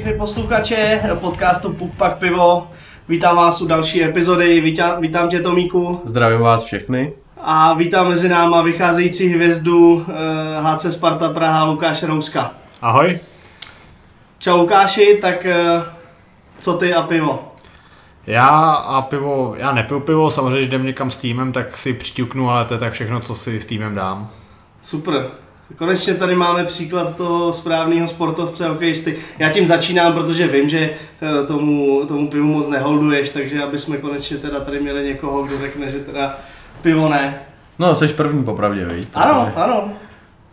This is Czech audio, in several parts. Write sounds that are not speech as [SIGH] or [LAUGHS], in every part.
posluchače podcastu Puk Pak Pivo. Vítám vás u další epizody, vítám, vítám tě Tomíku. Zdravím vás všechny. A vítám mezi náma vycházející hvězdu eh, HC Sparta Praha Lukáše Rouska. Ahoj. Čau Lukáši, tak eh, co ty a pivo? Já a pivo, já nepiju pivo, samozřejmě, když jdem někam s týmem, tak si přiťuknu, ale to je tak všechno, co si s týmem dám. Super. Konečně tady máme příklad toho správného sportovce, hokejisty. Já tím začínám, protože vím, že eh, tomu, tomu pivu moc neholduješ, takže aby jsme konečně teda tady měli někoho, kdo řekne, že teda pivo ne. No, jsi první popravdě, víš? Ano, ano.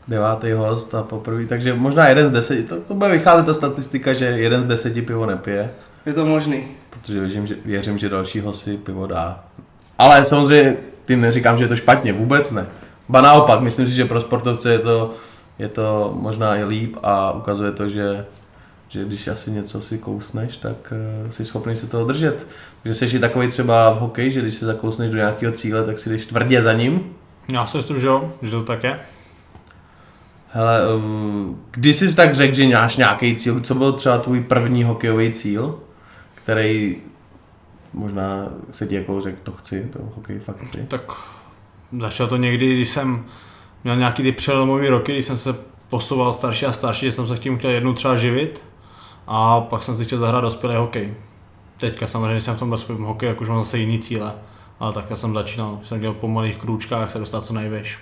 Devátý host a poprvý, takže možná jeden z deseti, to, to bude vycházet ta statistika, že jeden z deseti pivo nepije, Je to možný. protože věřím, že, věřím, že dalšího si pivo dá. Ale samozřejmě tím neříkám, že je to špatně, vůbec ne. Ba naopak, myslím si, že pro sportovce je to, je to možná i líp a ukazuje to, že že když asi něco si kousneš, tak eh, jsi schopný se toho držet. Že jsi i takový třeba v hokeji, že když se zakousneš do nějakého cíle, tak si jdeš tvrdě za ním, Já si myslím, že jo, že to tak je. Hele, ehm, když jsi tak řekl, že máš nějaký cíl, co byl třeba tvůj první hokejový cíl, který možná se ti jako řekl, to chci, to hokej fakt chci. Tak začalo to někdy, když jsem měl nějaký ty přelomové roky, když jsem se posouval starší a starší, že jsem se tím chtěl jednou třeba živit a pak jsem si chtěl zahrát dospělý hokej. Teďka samozřejmě jsem v tom dospělém hokeji, jak už mám zase jiný cíle, ale takhle jsem začínal, že jsem dělal po malých krůčkách se dostat co nejvejš.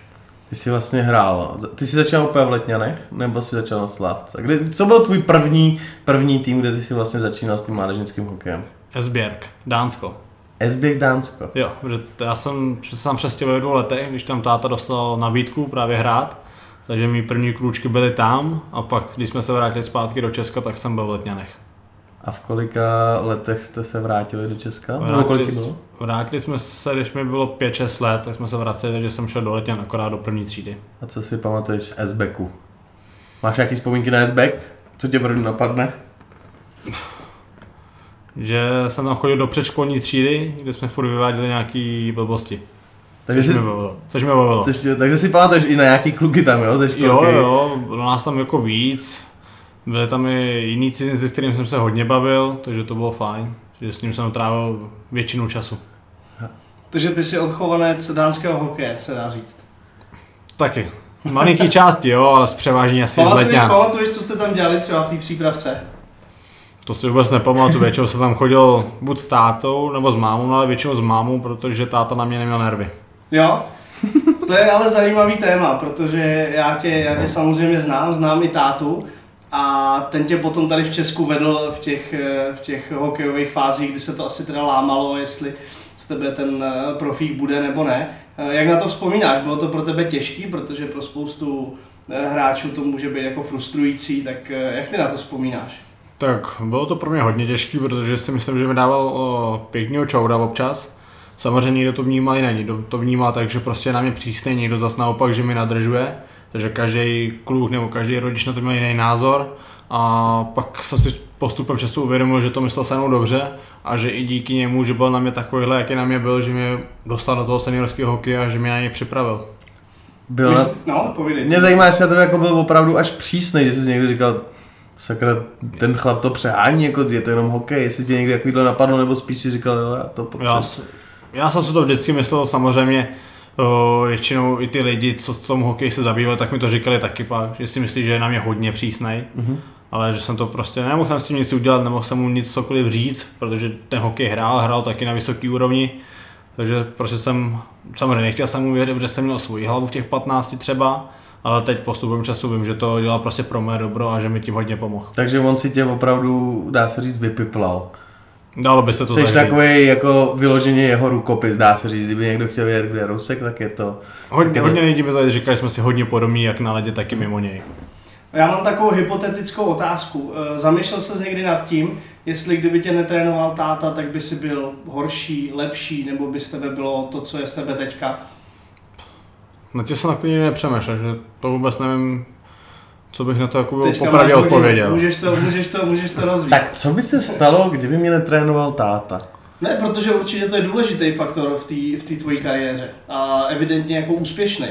Ty jsi vlastně hrál, ty jsi začal úplně v Letňanech, nebo jsi začal na Slávce? Kdy, co byl tvůj první, první tým, kde ty jsi vlastně začínal s tím mládežnickým hokejem? Esbjerg, Dánsko. Esběk Dánsko. Jo, protože t- já jsem se sám přestěhoval v dvou letech, když tam táta dostal nabídku právě hrát, takže mý první krůčky byly tam a pak, když jsme se vrátili zpátky do Česka, tak jsem byl v Letňanech. A v kolika letech jste se vrátili do Česka? Nebo kolik s- bylo? vrátili jsme se, když mi bylo 5-6 let, tak jsme se vraceli, takže jsem šel do Letňan akorát do první třídy. A co si pamatuješ z Esbeku? Máš nějaký vzpomínky na Esbek? Co tě první napadne? Že jsem tam chodil do předškolní třídy, kde jsme furt vyváděli nějaký blbosti. Takže Což, jsi, mi bavilo. Což mi bavilo. což, tě- takže si pamatuješ i na nějaký kluky tam, jo, ze školky? Jo, jo, bylo nás tam jako víc. Byli tam i jiní cizinci, s kterým jsem se hodně bavil, takže to bylo fajn. Že s ním jsem trávil většinu času. Takže ty jsi odchovanec dánského hokeje, se dá říct. Taky. Malinký části, jo, ale s převážně asi z Pamatuješ, letňan. pamatuješ, co jste tam dělali třeba v té přípravce? To si vůbec nepamatuju, většinou jsem tam chodil buď s tátou nebo s mámou, no, ale většinou s mámou, protože táta na mě neměl nervy. Jo? To je ale zajímavý téma, protože já tě, já tě samozřejmě znám, znám i tátu a ten tě potom tady v Česku vedl v těch, eh, v těch hokejových fázích, kdy se to asi teda lámalo, jestli z tebe ten eh, profík bude nebo ne. Eh, Jak na to vzpomínáš? Bylo to pro tebe těžký, protože pro spoustu eh, hráčů to může být jako frustrující, tak eh, jak ty na to vzpomínáš? Tak bylo to pro mě hodně těžké, protože si myslím, že mi dával o, pěknýho čouda občas. Samozřejmě někdo to vnímá i není, kdo to vnímá tak, že prostě je na mě přísný, někdo zas naopak, že mi nadržuje. Takže každý kluk nebo každý rodič na to měl jiný názor. A pak jsem si postupem času uvědomil, že to myslel se mnou dobře a že i díky němu, že byl na mě takovýhle, jaký na mě byl, že mě dostal do toho seniorského hokeje a že mě na něj připravil. Byl na... No, povídej. Mě zajímá, jestli na tebe jako byl opravdu až přísný, že jsi někdy říkal, sakra, ten chlap to přehání, jako je to jenom hokej, jestli tě někdy takovýhle napadlo, nebo spíš si říkal, jo, já to potřebuji. Já, s- já jsem si to vždycky myslel, samozřejmě o, většinou i ty lidi, co v tom hokeji se zabývají, tak mi to říkali taky pak, že si myslí, že je na mě hodně přísnej, mm-hmm. ale že jsem to prostě nemohl jsem s tím nic udělat, nemohl jsem mu nic cokoliv říct, protože ten hokej hrál, hrál taky na vysoké úrovni, takže prostě jsem, samozřejmě nechtěl jsem mu věřit, protože jsem měl svoji hlavu v těch 15 třeba, ale teď postupem času vím, že to dělal prostě pro mé dobro a že mi tím hodně pomohl. Takže on si tě opravdu, dá se říct, vypiplal. Dalo by se to Jsi tak říct. takový jako vyloženě jeho rukopis, dá se říct, kdyby někdo chtěl vědět, kde je Rousek, tak je to. Hodně, tak je hodně to... lidí mi tady říkali, že jsme si hodně podobní, jak na ledě, tak i mimo něj. Já mám takovou hypotetickou otázku. Eh, Zamýšlel ses někdy nad tím, jestli kdyby tě netrénoval táta, tak by si byl horší, lepší, nebo by z tebe bylo to, co je z tebe teďka? No Na tě jsem nakonec nepřemýšlel, že to vůbec nevím, co bych na to jako Teďka popravdě máš hodinu. odpověděl. Můžeš to, můžeš to, můžeš to rozvíjet. Tak co by se stalo, kdyby mě netrénoval táta? Ne, protože určitě to je důležitý faktor v té v té tvojí kariéře. A evidentně jako úspěšný.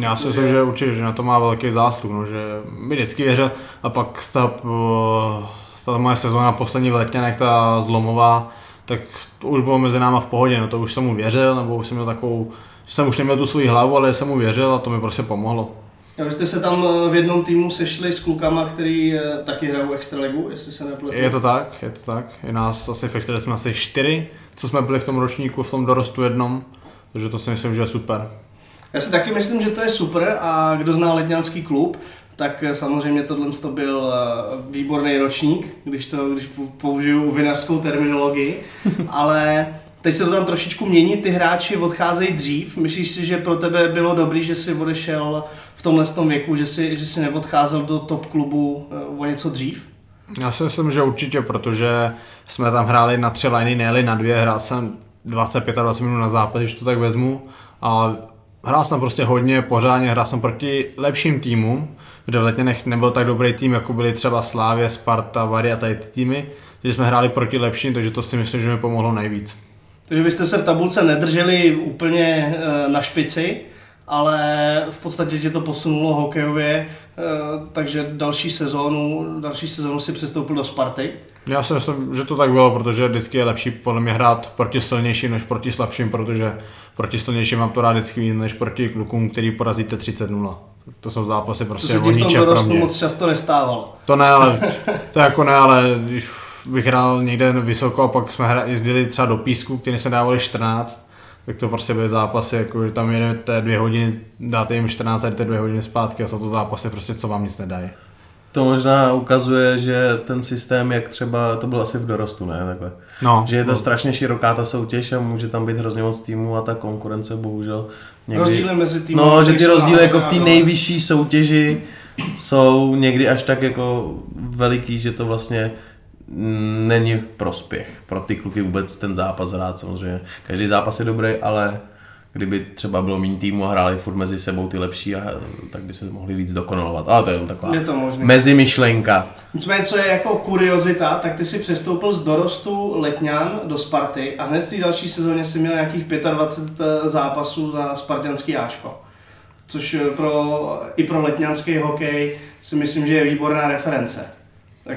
Já si myslím, že určitě, že na to má velký zásluh, no, že mi vždycky věřil a pak ta, po- ta moje sezóna poslední v letně, jak ta zlomová, tak to už bylo mezi náma v pohodě, no to už jsem mu věřil, nebo už jsem měl takovou, že jsem už neměl tu svoji hlavu, ale jsem mu věřil a to mi prostě pomohlo. A vy jste se tam eh, v jednom týmu sešli s klukama, který eh, taky hrajou extraligu, jestli se nepletu. Je to tak, je to tak. Je nás asi v Extralize jsme asi čtyři, co jsme byli v tom ročníku, v tom dorostu jednom, takže to si myslím, že je super. Já si taky myslím, že to je super a kdo zná ledňanský klub, tak eh, samozřejmě tohle to byl eh, výborný ročník, když to když pou- použiju vinařskou terminologii, ale teď se to tam trošičku mění, ty hráči odcházejí dřív. Myslíš si, že pro tebe bylo dobrý, že jsi odešel v tomhle tom věku, že jsi, že jsi neodcházel do top klubu eh, o něco dřív? Já si myslím, že určitě, protože jsme tam hráli na tři liney, ne na dvě, hrál jsem 25 a 20 minut na západ, když to tak vezmu. A hrál jsem prostě hodně, pořádně, hrál jsem proti lepším týmům, kde v Letněnech nebyl tak dobrý tým, jako byly třeba Slávě, Sparta, Vary a tady ty týmy. Takže jsme hráli proti lepším, takže to si myslím, že mi pomohlo nejvíc. Takže vy jste se v tabulce nedrželi úplně eh, na špici, ale v podstatě tě to posunulo hokejově, eh, takže další sezónu, další sezónu si přestoupil do Sparty. Já si myslím, že to tak bylo, protože vždycky je lepší podle mě hrát proti silnějším než proti slabším, protože proti silnějším mám to rád vždycky víc než proti klukům, který porazíte 30-0. To jsou zápasy To prostě se o ti v tom ničem pro dorostu mě. moc často nestávalo. To ne, ale to jako ne, ale když bych hrál někde vysoko a pak jsme hra, jezdili třeba do písku, který se dávali 14, tak to prostě byly zápasy, jako že tam jedete dvě hodiny, dáte jim 14 a jdete dvě hodiny zpátky a jsou to zápasy prostě, co vám nic nedají. To možná ukazuje, že ten systém, jak třeba, to bylo asi v dorostu, ne? Takhle. No, Že je to no. strašně široká ta soutěž a může tam být hrozně moc týmů a ta konkurence bohužel někdy... Rozdíly mezi týmy, No, že které ty jsou rozdíly jako v té nahoře a dole. nejvyšší soutěži jsou někdy až tak jako veliký, že to vlastně není v prospěch pro ty kluky vůbec ten zápas hrát samozřejmě. Každý zápas je dobrý, ale kdyby třeba bylo méně týmu a hráli furt mezi sebou ty lepší, a, tak by se mohli víc dokonalovat. Ale to je jenom taková Je to možný. mezimyšlenka. Nicméně, co je jako kuriozita, tak ty si přestoupil z dorostu Letňan do Sparty a hned v té další sezóně si měl nějakých 25 zápasů za Spartianský Ačko. Což eh, pro, i pro letňanský hokej si myslím, že je výborná reference. Tak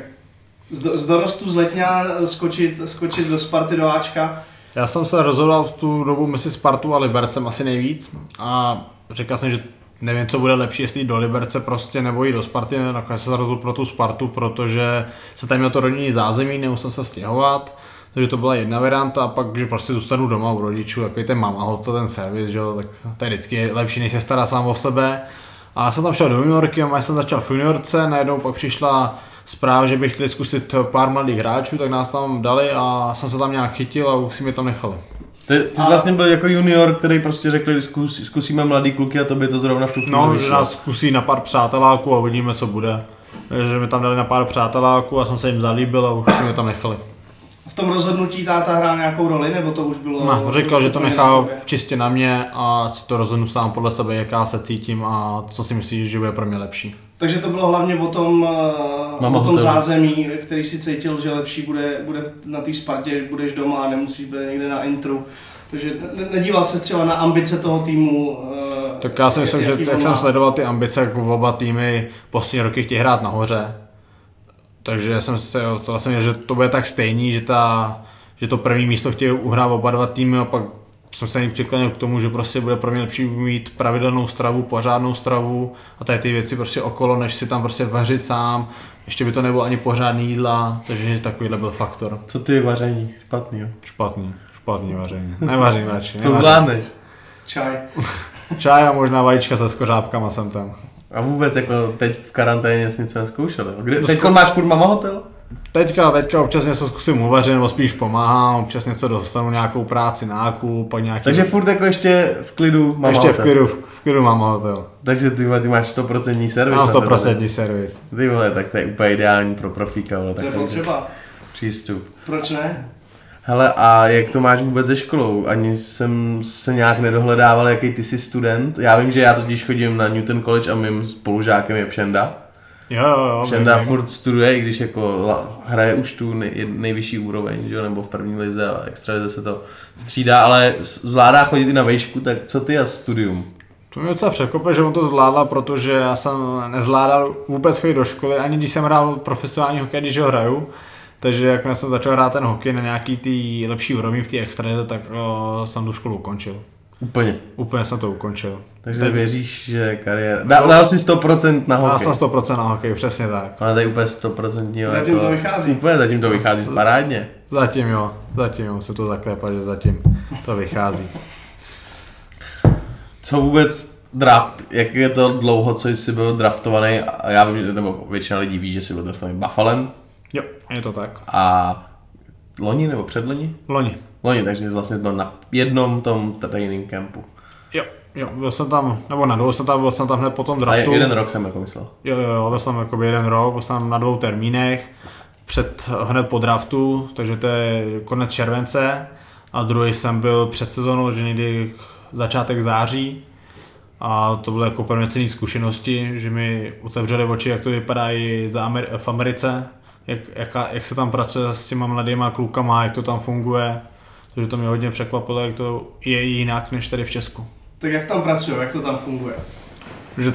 z, do- z dorostu z Letňan eh, skočit, skočit do Sparty do Ačka, Já jsem se rozhodoval v tu dobu mezi Spartu a Libercem asi nejvíc a říkal jsem, že nevím, co bude lepší, jestli jít do Liberce prostě nebo jít do Sparty, Ne, nakonec jsem se rozhodl pro tu Spartu, protože se tam měl to rodinný zázemí, nemusel se stěhovat, takže to byla jedna varianta a pak, že prostě zůstanu doma u rodičů, jako je ten mama hotel, ten servis, že jo, tak to je vždycky lepší, než se stará sám o sebe. A já jsem tam šel do juniorky, a já jsem začal v juniorce, najednou pak přišla zpráva, že bych chtěl zkusit pár mladých hráčů, tak nás tam dali a jsem se tam nějak chytil a už si mě tam nechali. Ty, ty jsi vlastně byl jako junior, který prostě řekli, zkus, zkusíme mladý kluky a to by to zrovna v tu chvíli No, že vyšlo. nás zkusí na pár přáteláků a uvidíme, co bude. Takže mi tam dali na pár přáteláků a jsem se jim zalíbil a už si mě tam nechali. v tom rozhodnutí táta hrál nějakou roli, nebo to už bylo... No, říkal, že to úplně na nechá tobě? čistě na mě a si to rozhodnu sám podle sebe, jak já se cítím a co si myslíš, že bude pro mě lepší. Takže to bylo hlavně o tom, eh, Mama o tom hotelu. zázemí, který si cítil, že lepší bude, bude na té Spartě, budeš doma a nemusíš být někde na intru. Takže ne- nedíval se třeba na ambice toho týmu. eh, Tak já si myslím, že jaký jak on jsem má. sledoval ty ambice, jako oba týmy poslední roky chtějí hrát nahoře. Takže jsem se to vlastně, že to bude tak stejný, že, ta, že to první místo chtějí uhrát oba dva týmy a pak jsem se jim přiklonil k tomu, že prostě bude pro mě lepší mít pravidelnou stravu, pořádnou stravu a tady ty věci prostě okolo, než si tam prostě vařit sám. Ještě by to nebylo ani pořádný jídla, takže takovýhle byl faktor. Co ty vaření? Špatný, jo? Špatný, [LAUGHS] špatný vaření. Nevařím radši. Co nevařím. zvládneš? Čaj. Čaj a možná vajíčka se skořápkama jsem tam. A vůbec jako teď v karanténě jsi nic nezkoušel. jo? Kde, No, teď zkou- máš furt mama hotel? Teďka, teďka občas něco zkusím uvařit, nebo spíš pomáhám, občas něco dostanu, nějakou práci, nákup, pak nějaký... Takže furt jako ještě v klidu mama ještě v hotel. klidu, v klidu mám hotel. Takže ty, vole, ty máš 100% servis. Mám na tebe, 100% servis. ne? Ty vole, tak to je úplně ideální pro profíka, vole, To je takový potřeba. přístup. Proč ne? Hele, a jak to máš vůbec ze školou? Ani jsem se nějak nedohledával, jaký ty jsi student. Já vím, že já totiž chodím na Newton College a mým spolužákem je Pšenda. Jo, jo, jo. Šenda vím, vím. furt studuje, i když jako la- hraje už tu nej, nejvyšší úroveň, že jo, nebo v první lize a extralize se to střídá, ale s- zvládá chodit i na vejšku, tak co ty a studium? To mě docela překvapilo, že on to zvládla, protože já jsem nezvládal vůbec chodit do školy, ani když jsem hrál profesionální hokej, když ho hraju. Takže jak jsem začal hrát ten hokej na nějaký ty lepší úrovni v té extralize, tak o, jsem tu školu ukončil. Úplně. Úplně jsem to ukončil. Takže věříš, že kariéra... Dá, dal si 100% na Já hokej. jsem 100% na hokej, přesně tak. Ale tady úplně 100% Zatím to vychází. jako- Úplně zatím to vychází parádně. Zatím jo, zatím jo, musím to zaklepat, že zatím to vychází. Co vůbec draft, jak je to dlouho, co jsi byl draftovaný, a já vím, že, nebo většina lidí ví, že jsi byl draftovaný Buffalem Jo, je to tak. a loni nebo předloni? Loni. Loni, takže vlastně byl na jednom tom training campu. Jo, jo, byl jsem tam, nebo na dvou jsem tam, byl jsem tam hned po tom A draftu. je, jeden rok jsem jako myslel. Jo, jo, jo, byl jsem jakoby jeden rok, byl jsem na dvou termínech, před, hned po draftu, takže to je konec července. A druhý jsem byl před sezónou, že někdy začátek září. A to byly jako prvně cený zkušenosti, že mi otevřeli oči, jak to vypadá i za Amer- v Americe, jak, jaká, jak se tam pracuje s těma mladýma klukama, jak to tam funguje. Takže to mě hodně překvapilo, jak to je jinak než tady v Česku. Tak jak tam pracují, jak to tam funguje? že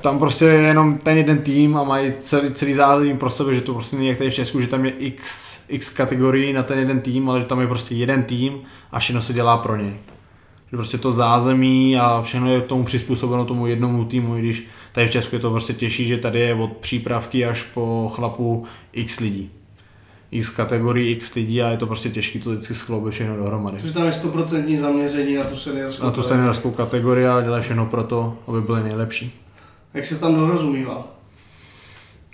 tam prostě je jenom ten jeden tým a mají celý, celý zázemí pro sebe, že to prostě není jak tady v Česku, že tam je x, x kategorií na ten jeden tým, ale že tam je prostě jeden tým a všechno se dělá pro něj. Že prostě to zázemí a všechno je tomu přizpůsobeno tomu jednomu týmu, i když tady v Česku je to prostě těžší, že tady je od přípravky až po chlapu x lidí. X kategorií, x lidí a je to prostě těžké to vždycky skloubit všechno dohromady Protože tam je stoprocentní zaměření na tu seniorskou. na tu kariéru. seniorskou kategorii a dělá všechno pro to, aby byly nejlepší. Jak se tam dorozumíval?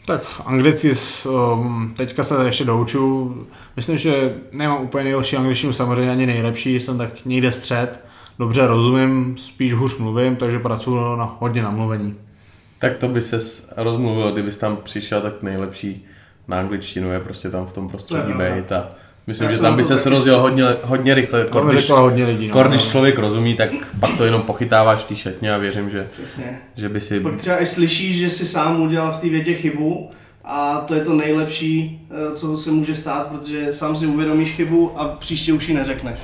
Tak anglicky s- um, teďka se ještě douču. Myslím, že nemám úplně nejhorší angličtinu, samozřejmě ani nejlepší, jsem tak někde střed. Dobře rozumím, spíš hůř mluvím, takže pracuji na, hodně na mluvení. Tak to by se rozmluvil, kdybys tam přišel, tak nejlepší na angličtinu je prostě tam v tom prostředí To je pravda. být a myslím, Já že jsem tam by to se taky rozjel hodně, hodně rychle. To mi když- řekla hodně lidí. no. Kor, když člověk rozumí, tak pak to jenom pochytáváš v té šatně a věřím, že, Přesně. že by si... Pak třeba i slyšíš, že si sám udělal v té větě chybu a to je to nejlepší, eh, co se může stát, protože sám si uvědomíš chybu a příště už ji neřekneš.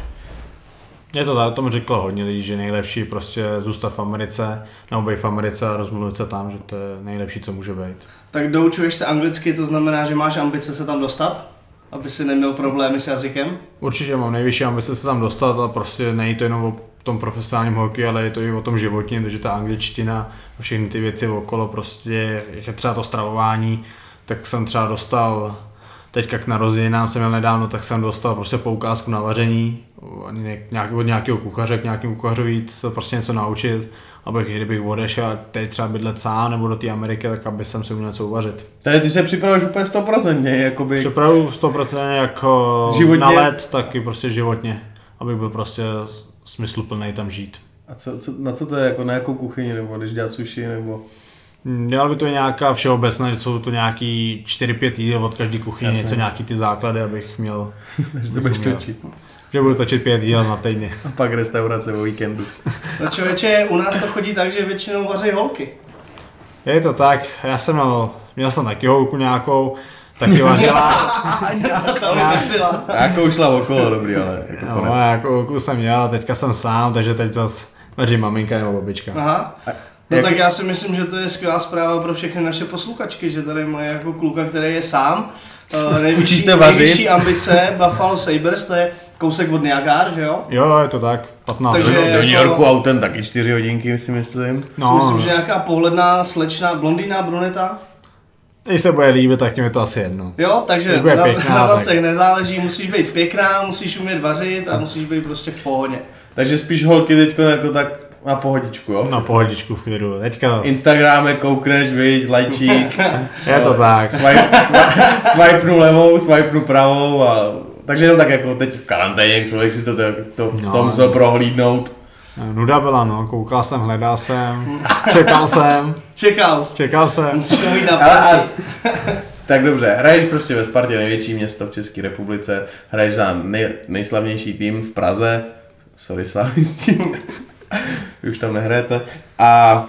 Je to tak, to mi řeklo hodně lidí, že nejlepší je prostě zůstat v Americe, nebo být v Americe a rozmluvit se tam, že to je nejlepší, co může být. Tak doučuješ se anglicky, to znamená, že máš ambice se tam dostat, aby si neměl problémy s jazykem. Určitě mám nejvyšší ambice se tam dostat a prostě není to jenom o tom profesionálním hokeji, ale je to i o tom životním, takže ta angličtina a všechny ty věci okolo prostě, jak je třeba to stravování, tak jsem třeba dostal teďka k narozeninám jsem měl nedávno, tak jsem dostal prostě poukázku na vaření ně- nějaký, od nějakého kuchaře k nějakému kuchařovi jít se prostě něco naučit, abych, kdybych odešel a teď třeba bydlet sám nebo do té Ameriky, tak aby jsem si uměl něco uvařit. Tady ty se připravuješ úplně stoprocentně, jakoby... Připravu 100% jako Životně? životně. na let, tak i prostě životně, aby byl prostě smysluplný tam žít. A co, co, na co to je, jako na jakou kuchyni, nebo když dělat sushi, nebo... [LAUGHS] Mm, Dělal by to i nějaká všeobecná, že jsou to nějaký 4-5 jídel od každé kuchyně, Jasně. něco nějaký ty základy, abych měl, Takže to budeš Uměl. točit. že budu točit 5 jídel na týdně. A pak restaurace o víkendu. No člověče, u nás to chodí tak, že většinou vaří holky. Je to tak, já jsem měl, měl jsem taky holku nějakou, taky vařila, [LAUGHS] Ta mi vařila. A jako šla okolo, dobrý, ale jako no, konec. nějakou holku jsem měl, teďka jsem sám, takže teď zase vaří maminka nebo babička. Aha. No tak já si myslím, že to je skvělá zpráva pro všechny naše posluchačky, že tady mají jako kluka, který je sám. eh, Nejvyšší, [LAUGHS] Učí se vařit. nejvyšší ambice Buffalo Sabres, to je kousek od Niagara, že jo? Jo, je to tak, 15 Takže- Do, do jako- New Yorku autem taky čtyři hodinky, si myslím. No. Myslím, že nějaká pohledná slečna, blondýna, bruneta. Když se bude líbit, tak mi je to asi jedno. Jo, takže Tak bude na, pěkná, na tak. vlasech nezáleží, musíš být pěkná, musíš umět vařit a musíš být prostě v pohodě. Takže spíš holky teďko jako tak na pohodičku, jo? Na pohodičku v klidu, teďka Instagrame koukneš, viď, lajčík, je to tak. swipe, swipe, swipenu levou, swipenu pravou a... Takže jenom tak jako teď v karanténě člověk si to, to, to, no. to No. musel prohlídnout. Nuda byla no, koukal jsem, hledal jsem, čekal jsem, Čekal, jsi. čekal jsem. musíš to mít na Ale, party. a, Prostě. [LAUGHS] tak dobře, hraješ prostě ve Spartě, největší město v České republice, hraješ za nej, nejslavnější tým v Praze, sorry slavisti, [LAUGHS] vy už tam nehrajete, a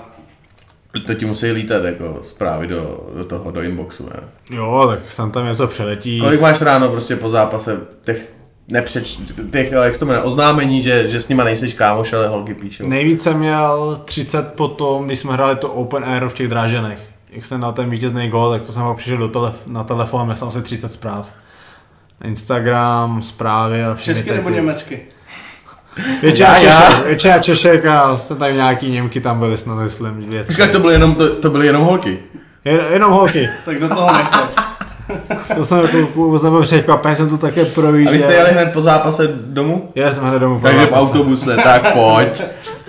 to ti musí lítat jako zprávy do, do toho, do inboxu, ne? Jo, tak jsem tam něco přeletí. Kolik máš ráno prostě po zápase těch nepřeč, těch, jak se to jmenuje, oznámení, že, že s nima nejseš kámoš, ale holky píčou. Nejvíc jsem měl 30 potom, když jsme hráli to Open Air v těch Dráženech. Jak jsem na ten vítězný gol, tak to jsem pak přišel do telef- na telefon, měl jsem asi 30 zpráv. Instagram, zprávy a všechny Česky ty nebo ty- německy? Většina, Já, já. Češek, většina Češek a jste tam nějaký Němky tam byli snad, myslím. Dvě, tři. Říkal, to byly jenom, to, to byly jenom holky. Jen, jenom holky. Tak do toho nechtěl. To jsem jako vůbec nebyl překvapen, jsem to také A projížděl. vy jste jeli hned po zápase domů? Jeli jsme hned domů. Takže v podívat se. autobuse, tak pojď.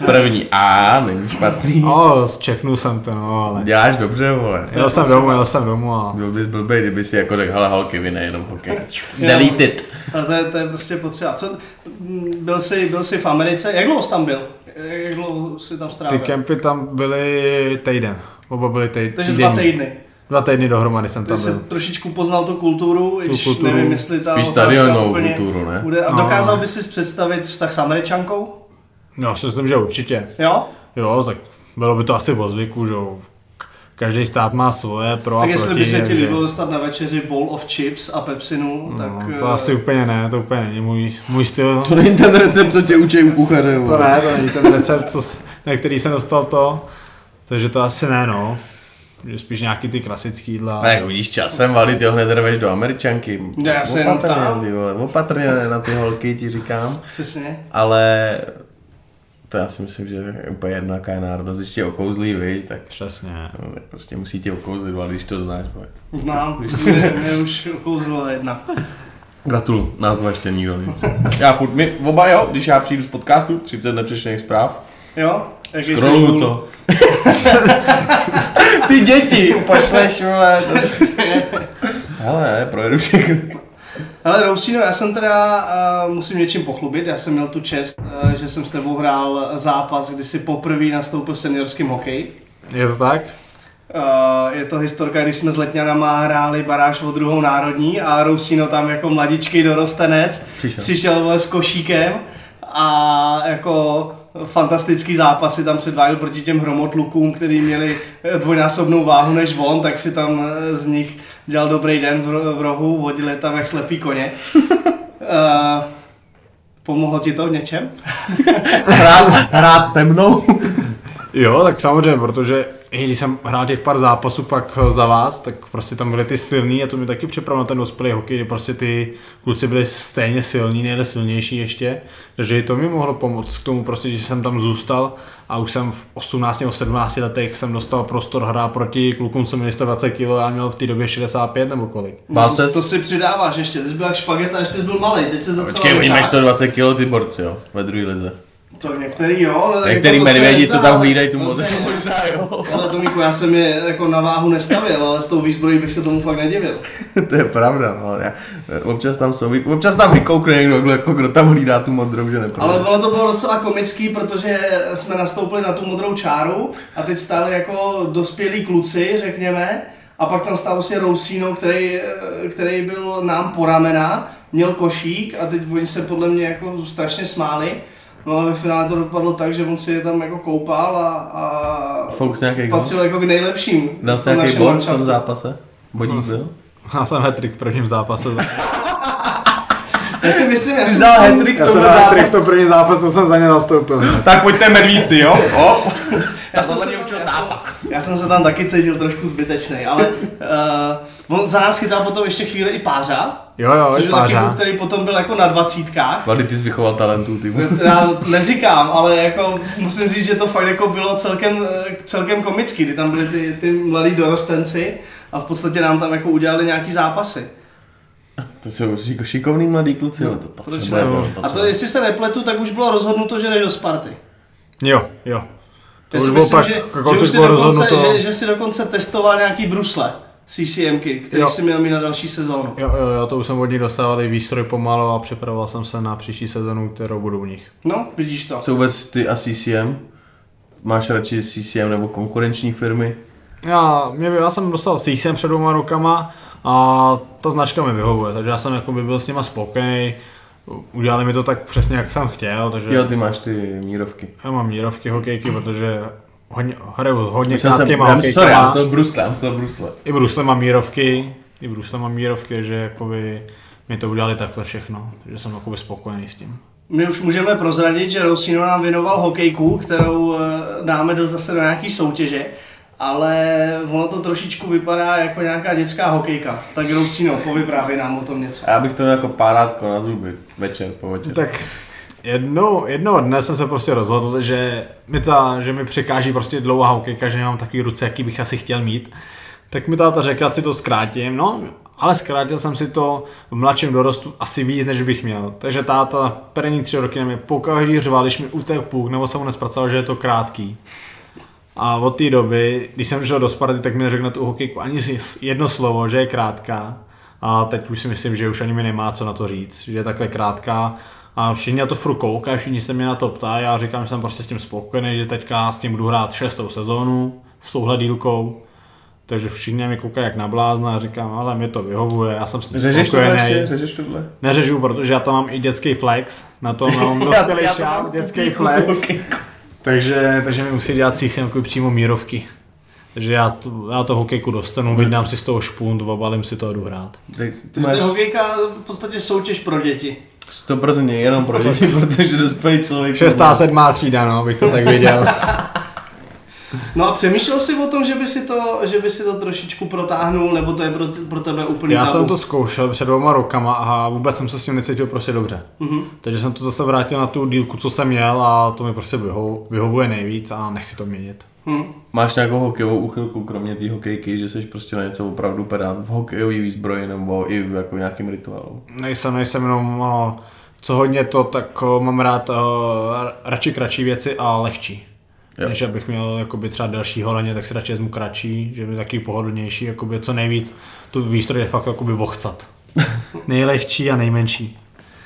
První A, není špatný. O, čeknul jsem to, no, ale... Děláš dobře, vole. Jel jsem domů, jel jsem domů a... Byl bys blbej, kdyby si jako řekl, hele holky, vy nejenom hokej. Deleted. A to, je, to je prostě potřeba. Co, mm, byl, jsi, byl jsi v Americe, jak dlouho jsi tam byl? Jak dlouho jsi tam Ty strávil? kempy tam byly týden. Oba byly týden. Takže dva týdny. Dva týdny dohromady jsem Ty tam jsi byl. trošičku poznal tu kulturu, i když kulturu, nevím, jestli ta Spíš otázka stadionovou úplně kulturu, ne? Bude. A No. dokázal bys si představit vztah s američankou? No, si myslím, že určitě. Jo? Jo, tak bylo by to asi o zvyku, že jo. K- Každý stát má svoje pro a tak proti. jestli by se ti takže- líbilo dostat na večeři bowl of chips a pepsinu, tak... No, eh, to asi úplně ne, to úplně není můj, můj styl. To není ten recept, co tě učí u kuchaře. To vole. ne, to není ten recept, co, s- na který jsem dostal to. Takže to asi ne, no. Že spíš nějaký ty klasický jídla. A jak vidíš časem, Vali, ty ho hned rveš do američanky. Ne, já se jenom ptám. Opatrně, ty vole, opatrně na ty holky, ti říkám. Přesně. Ale to já si myslím, že je úplně jedno, jaká je národnost. Když tě okouzlí, viď, tak Přesně. no, tak prostě musí tě okouzlit, ale když to znáš. Vole. [LAUGHS] Znám, mě, mě už okouzlila jedna. Gratuluju, nás dva ještě nikdo nic. Já furt, my oba jo, když já přijdu z podcastu, 30 nepřečtených zpráv, Jo? Jak jsi scrolluju cool. [LAUGHS] to. ty děti, pošleš, vole. [LAUGHS] prostě. Hele, projedu všechny. Hele Rousino, já jsem teda, uh, musím něčím pochlubit, já jsem měl tu čest, uh, že jsem s tebou hrál zápas, kdy si poprvé nastoupil v seniorském hokeji. Je to tak? Uh, je to historka, když jsme s Letňanama hráli baráž o druhou národní a Rousino tam jako mladičký dorostenec Přišel. přišel vole, s košíkem a jako fantastický zápasy tam předváděl proti těm hromotlukům, který měli eh, dvojnásobnou váhu než on, tak si tam eh, z nich dělal dobrý den v ro- v rohu, vodil je tam jak slepý koně. Eh, Pomohlo ti to v něčem? Hrát, hrát se mnou. Jo, tak samozřejmě, protože i když jsem hrál těch pár zápasů pak eh, za vás, tak prostě tam byly ty silný a to mi taky připravilo na ten dospělý hokej, kdy prostě ty kluci byli stejně silní, nejde silnější ještě, takže i to mi mohlo pomoct k tomu prostě, že jsem tam zůstal a už jsem v 18 nebo 17 letech jsem dostal prostor hrát proti klukům, co měli 120 kg a já měl v té době 65 nebo kolik. [LAUGHS] Bál ses? To si přidáváš ještě, ty jsi byl jak špageta, ještě jsi byl malý, teď se začal No, Počkej, oni mají 120 kg ty borci, jo, ve druhé lize. To některý jo, ale tak Některý jako to se medvědi, co nezdá. tam hlídají tu To mozek. se- Možná jo. Ale Tomíku, já jsem je jako na váhu nestavil, ale s tou výzbrojí bych se tomu fakt nedivil. [LAUGHS] to je pravda, no. Já, občas tam jsou, občas tam vykoukne někdo, kdo, jako, kdo tam hlídá tu modrou, že Ale neprojde. ono to bylo docela komický, protože jsme nastoupili na tu modrou čáru a teď stáli jako dospělí kluci, řekněme, a pak tam stál vlastně Rousino, který, eh, který byl nám po ramena, měl košík a teď oni se podle mě jako strašně smáli. No a ve finále to dopadlo tak, že on si je tam jako koupal a, a Fox nějaký gol? patřil jako k nejlepším. Dal v tom se nějaký našem bod v landšaftu. tom zápase? Bodík byl? Já jsem hat-trick v prvním zápase. Já si myslím, já Ty si dal myslím, hat-trick Já v jsem tomhle hat-trick zápase. to první zápas, to jsem za ně zastoupil. Tak pojďte medvíci, jo? Op. já, jsem se tam, já, jsem, já jsem se tam taky cítil trošku zbytečný, ale [LAUGHS] uh, on za nás chytal potom ještě chvíli i pářa, Jo, jo, což byl taky kluk, pářa. který potom byl jako na dvacítkách. Vlady, ty jsi vychoval talentů, ty. vole. Já neříkám, ale jako musím říct, že to fakt jako bylo celkem, eh, celkem komický, kdy tam byli ty, ty mladí dorostenci a v podstatě nám tam jako udělali nějaký zápasy. To jsou šiko- šikovný mladý kluci, ale to potřebuje. ne? jo, A to, potřebuje. jestli se nepletu, tak už bylo rozhodnuto, že jde do Sparty. Jo, jo. To Já už si bylo myslím, pak, že, jako že, to už si bylo dokonce, rozhodnuto. že, že si dokonce testoval nějaký brusle CCMky, který Jo. si měl mít na další sezónu. Jo, jo, jo, to už jsem od nich dostával i výstroj pomalu a připravoval jsem se na příští sezonu, kterou budu u nich. No, vidíš to. Co vůbec ty a CCM? Máš radši CCM nebo konkurenční firmy? Já, mě, já jsem dostal CSM před dvěma rokama a ta značka mi vyhovuje, takže já jsem jako by byl s nima spokojený. Udělali mi to tak přesně, jak jsem chtěl, takže Jo, ty máš ty mírovky. já mám mírovky hokejky, protože hodně, hraju hodně Myslel jsem, krátkýma já myslím, sorry, já hokejkama. myslel brusle, já myslel brusle. I brusle mám mírovky, i brusle mám mírovky, že jakoby mi to udělali takhle všechno, že jsem jakoby spokojený s tím. My už můžeme prozradit, že Rosino nám věnoval hokejku, kterou eh, dáme do, zase do nějaký soutěže, ale ono to trošičku vypadá jako nějaká dětská hokejka. Tak Rosino, povyprávěj nám o tom něco. A já bych to měl jako párátko na zuby večer po večer. Tak jednou, jednoho dne jsem se prostě rozhodl, že mi, ta, že mi překáží prostě dlouhá hokejka, že nemám takový ruce, jaký bych asi chtěl mít. Tak mi táta řekl, ať si to zkrátím, no, ale zkrátil jsem si to v mladším dorostu asi víc, než bych měl. Takže táta první tři roky na mě pokaždý řval, když mi utek půk, nebo jsem ho nespracoval, že je to krátký. A od té doby, když jsem šel do Sparty, tak mi řekl na tu hokejku ani si jedno slovo, že je krátká. A teď už si myslím, že už ani mi nemá co na to říct, že je takhle krátká. A všichni na to furt koukají, všichni se mě na to ptá, já říkám, že jsem prostě s tím spokojený, že teďka s tím budu hrát šestou sezónu s touhle dílkou. Takže všichni na mě koukají jak na blázna a říkám, ale mi to vyhovuje, já jsem s tím Řežeš tohle spokojený. ještě? Řežeš tohle? Neřežu, protože já tam mám i dětský flex, na [LAUGHS] to mám dospělý šáp, dětský flex. Takže, takže mi musí dělat sísemku přímo mírovky. Takže já, to, já to hokejku dostanu, vydám si z toho špunt, obalím si to a jdu hrát. [LAUGHS] Tak ty Takže to máš je hokejka v podstatě soutěž pro děti. 100% jenom pro děti, protože dospělý člověk... Šestá, sedmá třída, no, bych to tak viděl. No a přemýšlel jsi o tom, že by si to, že by si to trošičku protáhnul, nebo to je pro, pro tebe úplně Já tabu? jsem to zkoušel před dvěma rokama a vůbec jsem se s tím necítil prostě dobře. Mhm. Takže jsem to zase vrátil na tu dílku, co jsem měl a to mi prostě vyho- vyhovuje nejvíc a nechci to měnit. Hm. Máš nějakou hokejovou úchylku, kromě té hokejky, že jsi prostě na něco opravdu pedant v hokejové výzbroji nebo i v jako nějakým rituálu. Nejsem, nejsem jenom, o, co hodně to, tak o, mám rád o, ra- radši kratší věci a lehčí. Jo. Jo. Než abych měl jakoby, třeba delší holaně, tak si radši vezmu kratší, že mi taky pohodlnější, jakoby, co nejvíc tu výstroj je fakt jakoby vochcat. Nejlehčí a nejmenší.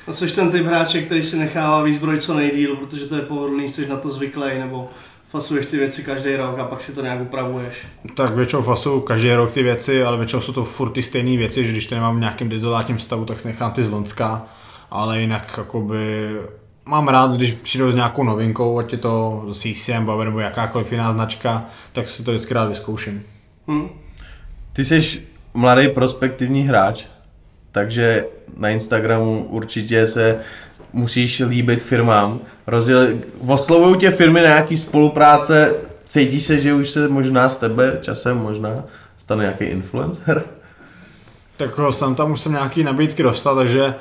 A jsi ten typ hráče, který si nechává výzbroj co nejdíl, protože to je pohodlný, jsi na to zvyklý, nebo fasuješ ty věci každý rok a pak si to nějak upravuješ. Tak většinou fasu každý rok ty věci, ale většinou jsou to furt ty stejné věci, že když to nemám v nějakém dezolátním stavu, tak si nechám ty z Lonska, ale jinak jakoby mám rád, když přijdu s nějakou novinkou, ať je to CCM, Bauer nebo jakákoliv jiná značka, tak si to vždycky rád vyzkouším. Hm? Ty jsi mladý prospektivní hráč, takže na Instagramu určitě se musíš líbit firmám. Rozděl... Oslovují tě firmy na nějaký spolupráce, cítíš se, že už se možná z tebe časem možná stane nějaký influencer? Tak jo, jsem tam už jsem nějaký nabídky dostal, takže,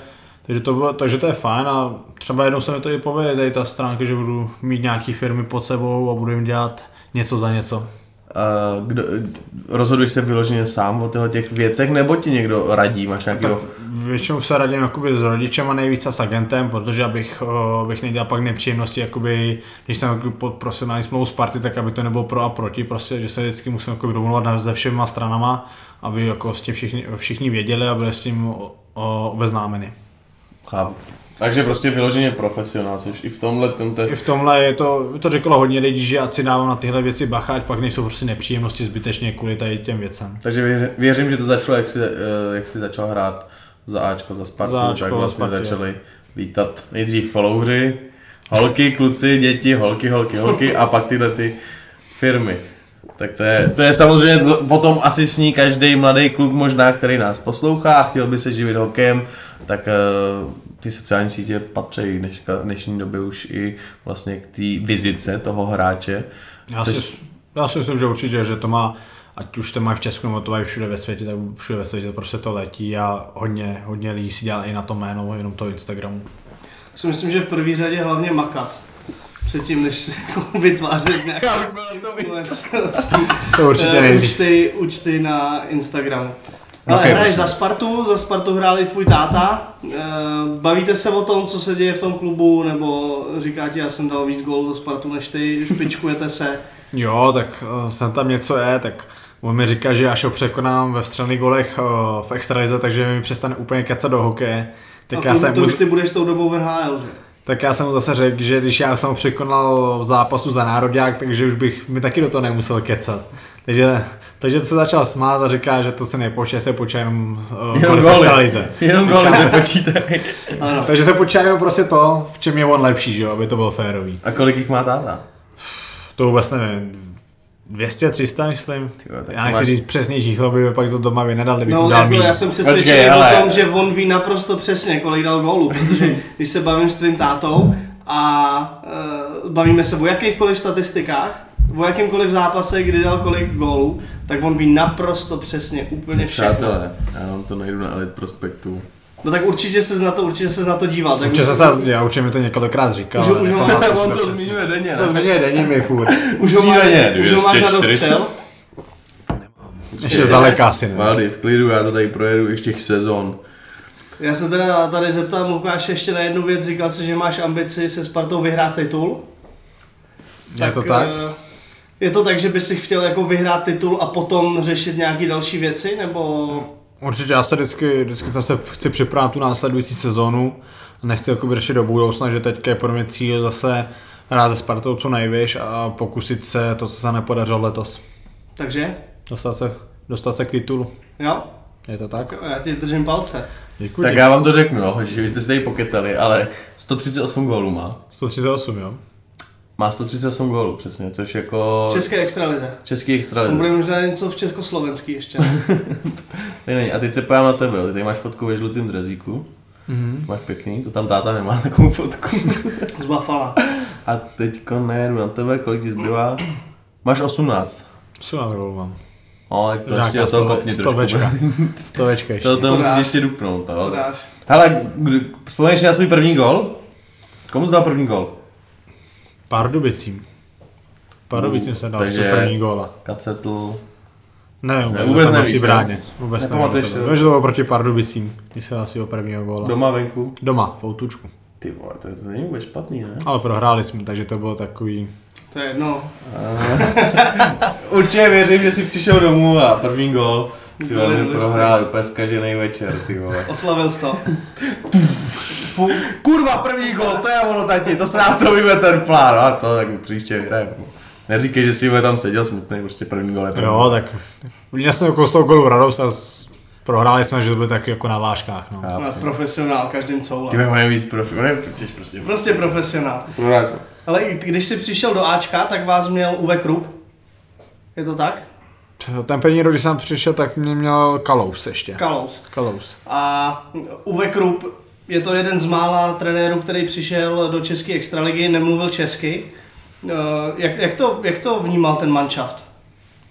takže, to, bylo, takže to je fajn a třeba jednou se mi to i povede, tady ta stránka, že budu mít nějaký firmy pod sebou a budu jim dělat něco za něco. A Kdo, rozhoduješ se vyloženě sám o těchto těch věcech, nebo ti někdo radí, máš nějakého... Většinou se radím jakoby s rodičem a nejvíc a s agentem, protože abych, eh, abych nedělal pak nepříjemnosti, jakoby, když jsem jakoby pod profesionální smlouvu Sparty, tak aby to nebylo pro a proti, prostě, že se vždycky musím jakoby domluvat na- se všema stranama, aby jako s tím všichni, všichni věděli a byli s tím o- o- obeznámeni. Chápu. Takže prostě vyloženě profesionál jsi i v tomhle, tomto... I v tomhle je to, to řeklo hodně lidí, že ať si dávám na tyhle věci bacha, ať pak nejsou prostě nepříjemnosti zbytečně kvůli tady těm věcem. Takže věřím, věřím, že to začalo, jak jsi, eh, jak jsi začal hrát za Ačko, za Spartu, Za Ačko, tak za vlastně Spartu, jo. začali lítat nejdřív followři, holky, kluci, děti, holky, holky, holky a pak tyhle ty firmy. Tak to je, to je samozřejmě to- potom asi sní každý mladý kluk možná, který nás poslouchá a chtěl by se živit hokejem, tak eh, ty sociální sítě patří dneška, dnešní době už i vlastně k té vizitce toho hráče. Já, Což- si, já si myslím, že určitě, že to má, ať už to má v Česku nebo to má i všude ve světě, tak všude ve světě to prostě to letí a hodně, hodně lidí si dělá i na to jméno, jenom toho Instagramu. Já si myslím, že v první řadě hlavně makat. Předtím, než si jako [LAUGHS] vytvářet nějaké To určitě Eh, nejvíc. účty, účty na Instagramu. No, Ale ok, hraješ prostě. za Spartu, za Spartu hrál i tvůj táta. Eh, Bavíte se o tom, co se děje v tom klubu, nebo říká ti, já jsem dal víc gólů za Spartu než ty, špičkujete se. Jo, tak eh, jsem tam něco je, tak on mi říká, že já ho překonám ve střelných golech eh, v extralize, takže mi přestane úplně kecat do hokeje. Tak Tak a já No, to, jsem to mu- už ty budeš tou dobou v NHL, že? Tak já jsem mu zase řekl, že když já jsem ho překonal v zápasu za národák, takže už bych mi taky do toho nemusel kecat. Takže, takže se začal smát a říká, že to se nepočítá, se počítá jenom, uh, Jenom goly, jenom goly se [LAUGHS] počítají. Ano. Takže se počítá jenom prostě to, v čem je on lepší, že jo, aby to bylo férový. A kolik jich má táta? To vůbec nevím. 200, 300, myslím. Tyjo, tak já to nechci máš- říct přesný číslo, by mi pak to doma vynadal, kdybych No, no, dal jako míň. já jsem přesvědčený Počkej, hele. o tom, že on ví naprosto přesně, kolik dal gólů, protože když se bavím s tvým tátou a e, bavíme se o jakýchkoliv statistikách, o jakýmkoliv zápase, kdy dal kolik gólů, tak on ví naprosto přesně úplně všechno. Přátelé, já vám to najdu na Elite Prospektu. No tak určitě se na to, určitě se na to díval. Tak Určitě už- se snad, já určitě mi to několikrát říkal. Už- ale už- [LAUGHS] nepamatuju si [LAUGHS] On to přesně. zmiňuje denně, To ne? zmiňuje denně mi furt. už ho máš, Cíleně, už ho máš na 240. dostřel. Ještě zdaleka asi ne. Valdy, v klidu, já to tady projedu ještě těch sezon. Já se teda tady zeptám Lukáš ještě na jednu věc, říkal jsi, že máš ambici se Spartou vyhrát titul. Je to tak? eh, Je to tak, že bys si chtěl jako vyhrát titul a potom řešit nějaké další věci, nebo... Určitě já se vždycky, vždycky jsem se chci připravit tu následující sezonu. Nechci jako řešit do budoucna, že teďka je pro mě cíl zase hrát se Spartou co nejvíš a pokusit se to, co se nepodařilo letos. Takže, Dostat se, dostat se k titulu. jo, Je to tak? já ti držím palce. Děkuji. Tak já vám to řeknu, jo, že vy jste si tady pokecali, ale 138 gólů má. 138, jo? Má 138 gólů přesně, což jako V České extralize. český On extralize. bude možná něco v československý ještě. [LAUGHS] Tady není. A teď se pojám na tebe, jo. ty tady máš fotku ve žlutém drezíku. Mm-hmm. Máš pěkný, to tam táta nemá takovou [LAUGHS] fotku. Z Buffalo. A teďko nejedu na tebe, kolik ti zbývá? Máš 18. 18 gólů mám. O, tak No, to ještě do toho stove, kopni trošku. [LAUGHS] stovečka. Stovečka ještě. To, to To musíš dáš. ještě dupnout, To to. dáš. Hele, kdy- vzpomeneš si na svůj první gol? Komu jsi dal první gol? Pardubicím. Pardubicím jsem dal Hmm. takže- takže... první góla. Kacetl. Ne, vůbec, Ne, ne, vůbec vůbec nevíš, nevíš, jo? v bráně. Vůbec Nepamatuješ nevím, si to? to, že to bylo proti Pardubicím, když se dal svého prvního góla. Doma venku. Doma, v Outučku. Ty vole, to, to není vůbec špatný, ne? Ale prohráli jsme, takže to bylo takový... To je jedno. Určitě věřím, že jsi přišel domů a první gol. Ty vole, Byli mi dost- prohrál úplně zkažený večer, ty vole. Oslavil jsi [LAUGHS] to. Fu, kurva, první gol, to je ono, tati, to se nám to vyve ten plán, no a co, tak příště vyhrajeme. Neříkej, že jsi vole, tam seděl smutný, prostě první gol je první. Jo, tak... Měl jsem jako z toho gólu radost a s- prohráli jsme, že to bylo taky jako na váškách, no. Já. Profesionál, každým Ty coulem. vole, on je víc profi, on je, jsi prostě profi. Prostě profesionál. Prohráli jsme. Ale i když jsi přišel do Ačka, tak vás měl Uwe Krupp. Je to tak? Ten první rok, když jsem přišel, tak mě měl Kalous ještě. Kalous. Kalous. A Uwe Krupp je to jeden z mála trenérů, který přišel do české extraligy, nemluvil česky. Eh, Jak, jak, to, jak to vnímal ten manšaft?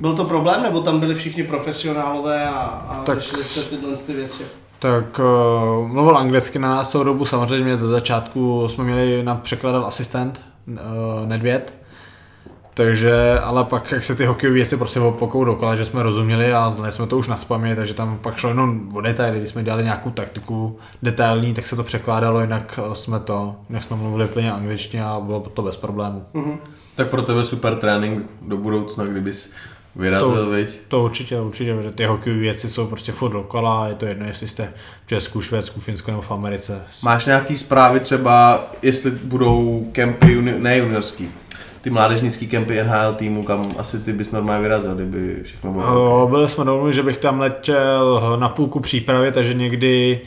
Byl to problém, nebo tam byli všichni profesionálové a, a tak. Tak- řešili jste tyhle ty věci? Tak uh, mluvil anglicky na nás celou dobu, samozřejmě ze začátku jsme měli nám překladal asistent uh, Nedvěd, takže, ale pak jak se ty hokejové věci prostě opokou dokola, že jsme rozuměli a znali jsme to už na spamě, takže tam pak šlo jenom o detaily, když jsme dělali nějakou taktiku detailní, tak se to překládalo, jinak eh, jsme to, jinak jsme mluvili plně angličtině a bylo to bez problémů. Tak pro tebe super trénink do budoucna, kdybys vyrazil, To- viď? To určitě, určitě, že ty hokejové věci jsou prostě furt dokola, je to jedno, jestli jste v Česku, Švédsku, Finsku nebo v Americe. Máš nějaký zprávy třeba, jestli budou kempy, juni- ne juniorský, ty mládežnický kempy NHL týmu, kam asi ty bys normálně vyrazil, kdyby všechno bylo. O, Byli jsme domluveni, že bych tam letěl na půlku přípravy, takže někdy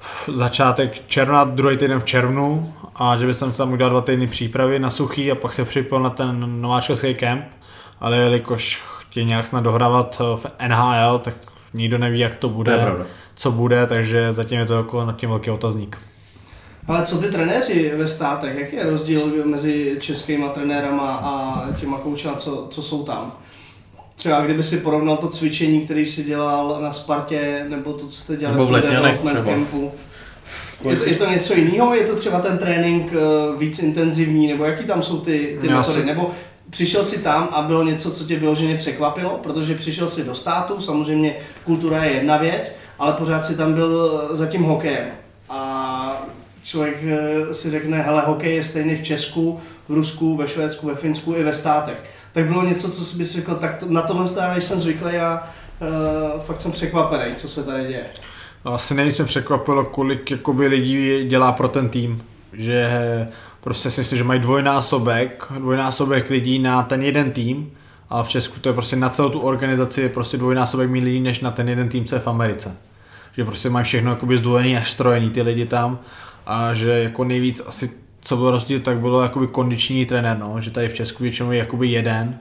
v začátek června, druhý týden v červnu a že bych tam tam udělal dva týdny přípravy na suchý a pak se připojil na ten nováčkovský kemp, ale jelikož chtějí nějak snad dohrávat eh, v NHL, tak nikdo neví, jak to To je bude, pravda. co bude, takže zatím je to jako nad tím velký otazník. Ale co ty trenéři ve státech, jaký je rozdíl mezi českýma trenérama a těma koučama, co, co jsou tam? Třeba kdyby si porovnal to cvičení, který si dělal na Spartě, nebo to, co jste dělali Nebo v tom Letňanech development třeba. campu. Je to, je to něco jiného? Je to třeba ten trénink eh, víc intenzivní? Nebo jaký tam jsou ty, ty Já metody? si- Nebo přišel si tam a bylo něco, co tě vyloženě překvapilo? Protože přišel si do státu, samozřejmě kultura je jedna věc, ale pořád si tam byl eh, za tím hokejem. A člověk eh, si řekne, hele, hokej je stejný v Česku, v Rusku, ve Švédsku, ve Finsku i ve státech. Tak bylo něco, co si bys řekl, tak to, na tohle já nejsem zvyklý a uh, fakt jsem překvapený, co se tady děje. Asi nejvíc mě překvapilo, kolik jakoby, lidí dělá pro ten tým. Že prostě si myslím, že mají dvojnásobek, dvojnásobek lidí na ten jeden tým, a v Česku to je prostě na celou tu organizaci je prostě dvojnásobek méně lidí než na ten jeden tým, co je v Americe. Že prostě mají všechno jakoby zdvojený a štrojený ty lidi tam a že jako nejvíc asi co byl rozdíl, tak bylo jakoby kondiční trenér, no, že tady v Česku většinou je jakoby jeden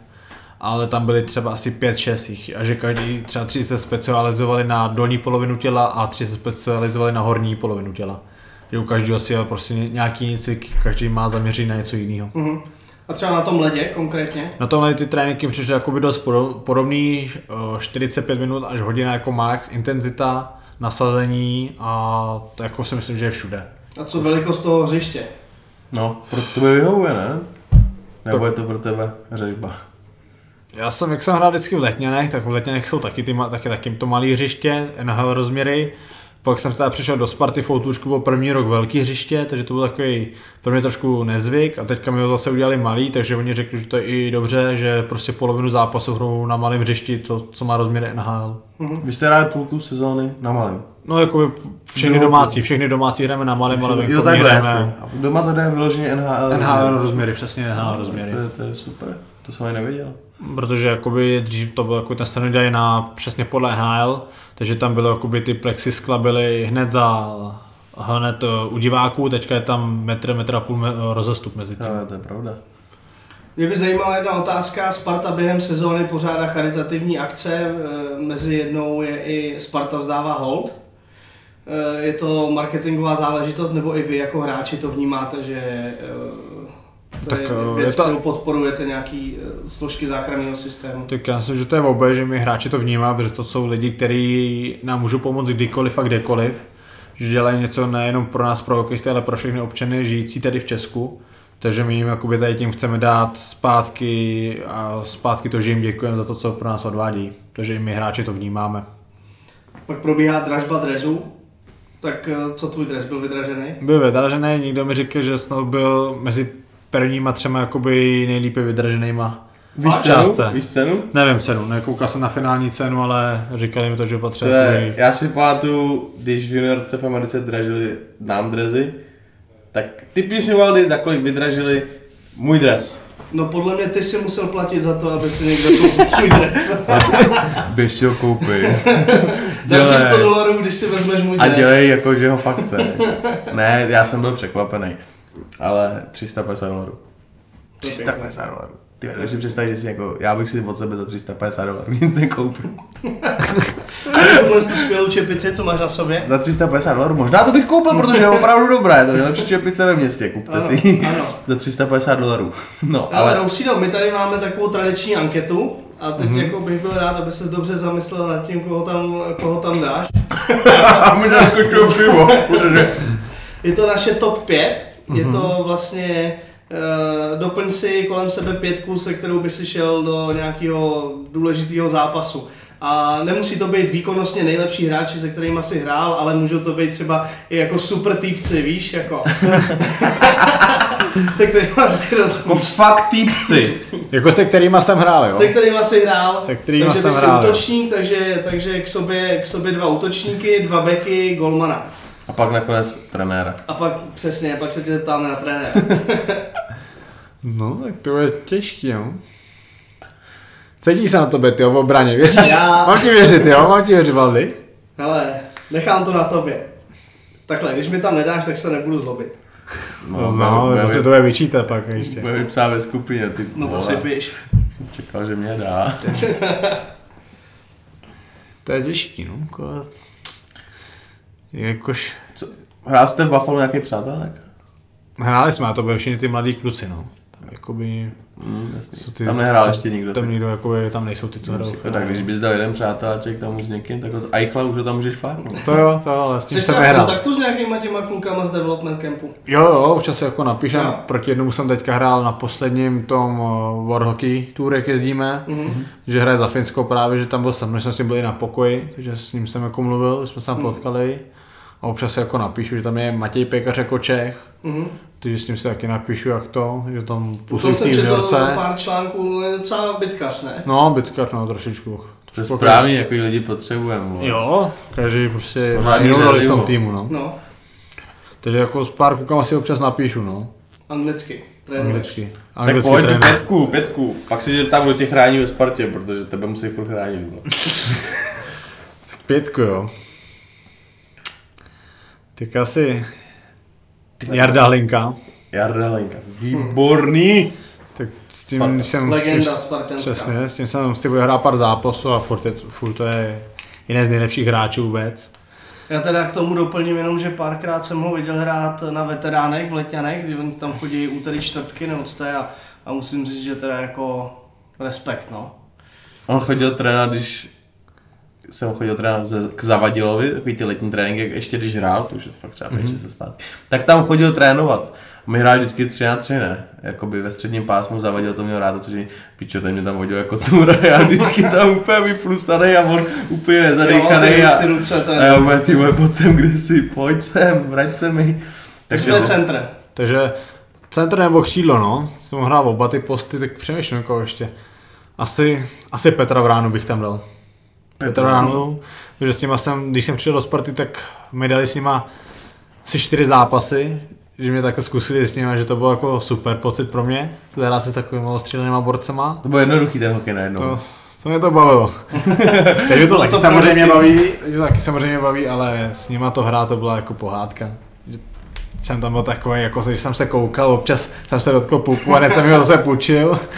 ale tam byly třeba asi 5-6 jich a že každý třeba 3 se specializovali na dolní polovinu těla a 3 se specializovali na horní polovinu těla. Že u každého si je prostě ně- nějaký jiný cvik, každý má zaměřit na něco jiného. Mhm. A třeba na tom ledě konkrétně? Na tomhle ty tréninky mi přišly jakoby dost podo- podobný, eh, 45 minut až hodina jako max, intenzita, nasazení a to jako si myslím, že je všude. A co velikost toho hřiště? No, pro tebe vyhovuje, ne? Nebo je to pro tebe řežba? Já jsem, jak jsem hrál vždycky v Letňanech, tak v Letňanech jsou taky, ty, ma- taky, taky to malé hřiště, NHL rozměry. Pak jsem teda přišel do Sparty Foutušku, byl první rok velký hřiště, takže to byl takový pro mě trošku nezvyk a teďka mi ho zase udělali malý, takže oni řekli, že to je i dobře, že prostě polovinu zápasu hrou na malém hřišti, to, co má rozměry NHL. Vy jste hráli půlku sezóny na malém. No jako všechny Jo. domácí, všechny domácí hrajeme na malém, ale venkovní Jo, takhle, hrajeme jasně. A doma tady je vyloženě NHL. NHL rozměry, přesně NHL rozměry. To, je, to je super, to jsem ani nevěděl. Protože jakoby dřív to bylo jako ten standard dělají na přesně podle HL, takže tam bylo jakoby ty plexiskla byly hned za hned eh, u diváků, teďka je tam metr, metr a půl me- eh, rozestup mezi tím. Jo, to je pravda. Mě by zajímala jedna otázka. Sparta během sezóny pořádá charitativní akce. eh, Mezi jednou je i Sparta vzdává hold. Eh, Je to marketingová záležitost, nebo i vy jako hráči to vnímáte, že eh, to Tak, tak, je eh, věc, je to- kterou podporujete nějaký eh, složky záchranného systému. Tak já myslím, že to je oboje, že my hráči to vnímá, protože to jsou lidi, kteří nám můžou pomoct kdykoliv a kdekoliv. Že dělají něco nejenom pro nás, pro hokejisty, ale pro všechny občany žijící tady v Česku. Takže my jim jakoby tady tím chceme dát zpátky a zpátky to, že jim děkujeme za to, co pro nás odvádí. Takže i my hráči to vnímáme. Pak probíhá dražba dresu. Tak eh, co tvůj dres byl vydražený? Byl vydražený, někdo mi říkal, že snad byl mezi prvníma třema jakoby nejlípe vydraženýma. Víš Ale cenu? částce. Víš cenu? Nevím cenu, nekoukal jsem na finální cenu, ale říkali mi to, že To patří je, jakoby... já si pamatuju, když v juniorce v Americe dražili nám drezy, tak ty si Valdy, za kolik vydražili můj dres. No podle mě ty si musel platit za to, aby si někdo koupil svůj dres. Běž si ho koupil. [LAUGHS] Takže 100 dolarů, když si vezmeš můj A dres. dělej jako, že ho fakt chce. ne, já jsem byl překvapený. Ale 350 dolarů. To je 350 dolarů. Ty vedeš si představit, že si jako, já bych si od sebe za 350 dolarů nic nekoupil. [LAUGHS] Tuhle tu skvělou čepici, co máš na sobě? Za 350 dolarů možná to bych koupil, [LAUGHS] protože je opravdu dobrá, je to nejlepší čepice ve městě, kupte Ano, si ji. ano. [LAUGHS] Za 350 dolarů. No, Ale ale Rousino, my tady máme takovou tradiční anketu a teď mm-hmm. jako bych byl rád, aby ses dobře zamyslel nad tím, koho tam, koho tam dáš. a mi naskočilo pivo, protože... Je to naše top 5, je to vlastně, uh, doplň si kolem sebe pětku, se kterou by si šel do nějakého důležitého zápasu. A nemusí to být výkonnostně nejlepší hráči, se kterými si hrál, ale můžou to být třeba i jako super týpci, víš, jako. se kterými si rozhodl. Jako fakt týpci. Jako se kterýma jsem hrál, jo? Se kterými jsi hrál, Se kterýma takže jsem ty jsi hrál, jo. útočník, takže, takže k, sobě, k sobě dva útočníky, dva beky, golmana. A pak nakonec trenéra. A pak přesně, pak se tě zeptáme na trenéra. [LAUGHS] No, tak to je těžký, jo? Cítíš se na tobě, ty jo, v obraně, věříš? Já- Mám ti věřit, jo? Mám ti věřit, Valdy? Hele, nechám to na tobě. Takhle, když mi tam nedáš, tak se nebudu zlobit. No, znám, bude- to se bude- tobě vyčítá pak ještě. Bude mi psát ve skupině, ty No to vole. si píš. Čekal, že mě dá. To je těžký, no, ko- Jako- Jakož... Co, hrál jste v Buffalo nějaký přátelek? Hráli jsme, a to byli všichni ty mladí kluci, no. Tam jakoby... Mm, jasný. Co ty, tam nehrál co- ještě nikdo. Tam Tam nikdo, jakoby, tam nejsou ty, co hrajou. tak když bys dal jeden přáteláček tam už s někým, tak od Eichla už ho tam můžeš fláknout. To jo, to jo, ale s tím Jsi jsem třeba v nehrál. kontaktu s nějakýma těma klukama z development campu? Jo, jo, občas se jako napíšem, Jo. proti jednomu jsem teďka hrál na posledním tom eh, War Hockey Tour, jak jezdíme, Mhm. Mhm. že hraje za Finsko právě, že tam byl jsem, že jsem s ním byl i na pokoji, takže s ním jsem jako mluvil, jsme se tam Mhm. potkali a občas se jako napíšu, že tam je Matěj Pekař jako Čech, Mhm. takže s ním se taky napíšu jak to, že tam působí Potom v té jsem četl juniorce. pár článků, no, je docela bitkař, ne? No, bytkař, no, trošičku. To je správný, jako lidi potřebujeme. vole. Jo, každý prostě má Pořádný jinou roli v tom ředivo. týmu, no. No, Takže jako s pár kukama si občas napíšu, no. anglicky. Trénuješ. Anglicky. Tak Anglicky pojď tu trénuje. pětku, pětku. Pak si tě tam, kdo tě chrání ve Spartě, protože tebe musí furt chránit. vole. Pětku, jo. Tak asi... Jarda Hlinka. Jarda Lenka, výborný. Tak s tím Sparta. jsem... Legenda s, spartanská. přesně, s tím jsem si bude hrát pár zápasů a furt, je, furt to je jeden z nejlepších hráčů vůbec. Já teda k tomu doplním jenom, že párkrát jsem ho viděl hrát na veteránech v Letňanech, kdy oni tam chodí úterý čtvrtky neocté a, a musím říct, že teda jako respekt, no. On chodil trénovat, když jsem chodil trénovat ze, k Zavadilovi, takový ty letní tréninky, jak ještě když hrál, to už je fakt třeba 5 6 zpátky, tak tam chodil trénovat. My hráli vždycky 3 na 3, ne? Jakoby ve středním pásmu Zavadil to měl rád, což je, pičo, ten mě tam hodil jako cura, já vždycky tam úplně vyflusaný a on úplně ty, nezadýchaný a, ty ruce, to a já je... úplně, ty vole, pojď sem kdysi, pojď sem, vrať se mi. Takže Takže to je centr. Takže centr nebo křídlo, no. Jsem ho hrál oba ty posty, tak přemýšlím, koho ještě. Asi, asi Petra Vránu bych tam dal. Petra Vránu, protože s nima jsem, když jsem přišel do Sparty, tak mi dali s nima asi čtyři zápasy, že mě takhle zkusili s nima, že to bylo jako super pocit pro mě, se hrát se takovými ostřílenýma borcema. to bylo jednoduchý ten hokej najednou. To, co mě to bavilo. [LAUGHS] Teď mě to taky to samozřejmě produktivní. baví, mě to taky samozřejmě baví, ale s nima to hra to byla jako pohádka. Že Jsem tam byl takový, jako když jsem se koukal, občas jsem se dotkl pupu a hned jsem ho zase půjčil. [LAUGHS]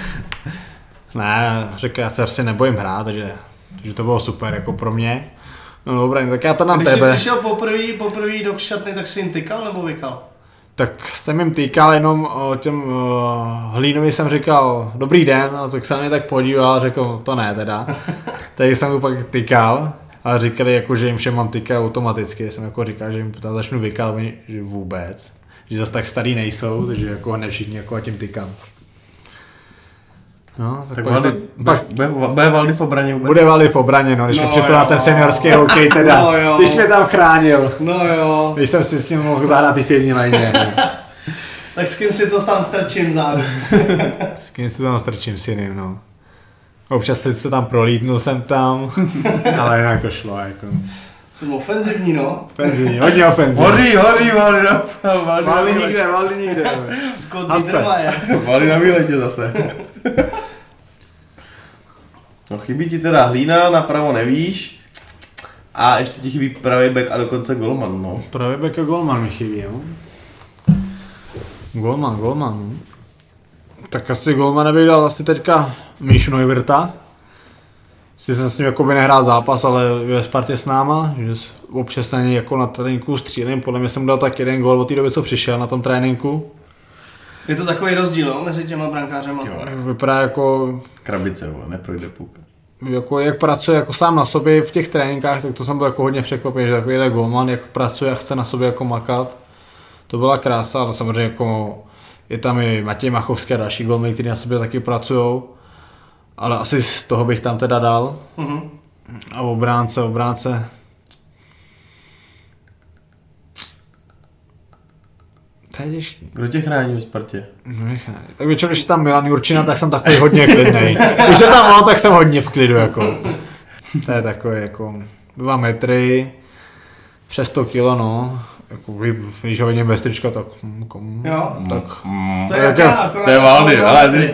Ne, řekl, já se prostě nebojím hrát, takže, takže to bylo super jako pro mě. No dobré, tak já to na Když jsi tebe. přišel poprvé poprvé do šatny, tak jsi jim tykal nebo vykal? Tak jsem jim týkal jenom o těm o, Hlínovi jsem říkal dobrý den, a tak se na mě tak podíval a řekl to [LAUGHS] ne teda. Takže jsem mu pak týkal a říkali jako, že jim všem mám týkat automaticky. Jsem jako říkal, že jim tam začnu vykat, oni, že vůbec. Že zase tak starý nejsou, takže jako ne všichni jako a tím tykám. No, tak, tak pak, Valdy, ty- pak pak, bude, bude Valdy v obraně vůbec? bude Vali v obraně, no, když no, No mi připadá jo. ten [LAUGHS] seniorský hokej teda, No jo. když mě tam chránil. No jo, Když jsem si s ním mohl zahrát i v jedné lajně. no. tak s kým si to tam strčím zároveň. S kým se tam strčím s jiným, no. Občas jsem se tam prolítnul jsem tam, [LAUGHS] ale jinak to šlo, jako. Jsem ofenzivní, no. Ofenzivní, hodně ofenzivní. Horí, horí, horí, na- horí, Valí horí, nikde, valí nikde. Scott Aspe. Niedermayer. Valí na výletě zase. No chybí ti teda hlína, napravo nevíš. A ještě ti chybí pravý back a dokonce golman, no. Právě Beko Golman mi chybí, jo. Golman, Golman, no. Tak asi Golmana bych dal asi teďka Míšu Neuwirta. Sice jsem s ním jakoby nehrál zápas, ale je ve Spartě s náma, že s- občas na něj jako na tréninku střílím, podle mě jsem mu dal tak jeden gol od té doby, co přišel na tom tréninku. Je to takový rozdíl, no, mezi těma brankářema. Vypadá jako Krabice, vole, neprojde puk. jako jak pracuje jako sám na sobě v těch tréninkách, tak to jsem byl jako hodně překvapený, že takovýhle golman jak pracuje a chce na sobě jako makat. To byla krása, ale samozřejmě jako je tam i Matěj Machovský a další golmy, kteří na sobě taky pracují. Ale asi z toho bych tam teda dal. Mhm. A obránce, obránce. To je těžký. Kdo tě chrání ve Spartě? Nechaj. Tak většinou, když je tam Milan Jurčina, tak jsem takový hodně klidný. Když je tam on, tak jsem hodně v klidu, jako. To je takový, jako, dva metry, přes 100 kilo, no. Jako, kdy- když ho vidím bez trička, tak, hm, kom, Jo. tak, Mm. To je Tak jaká, jo, akorát to je Valdy, jaká ale Valdy. ty-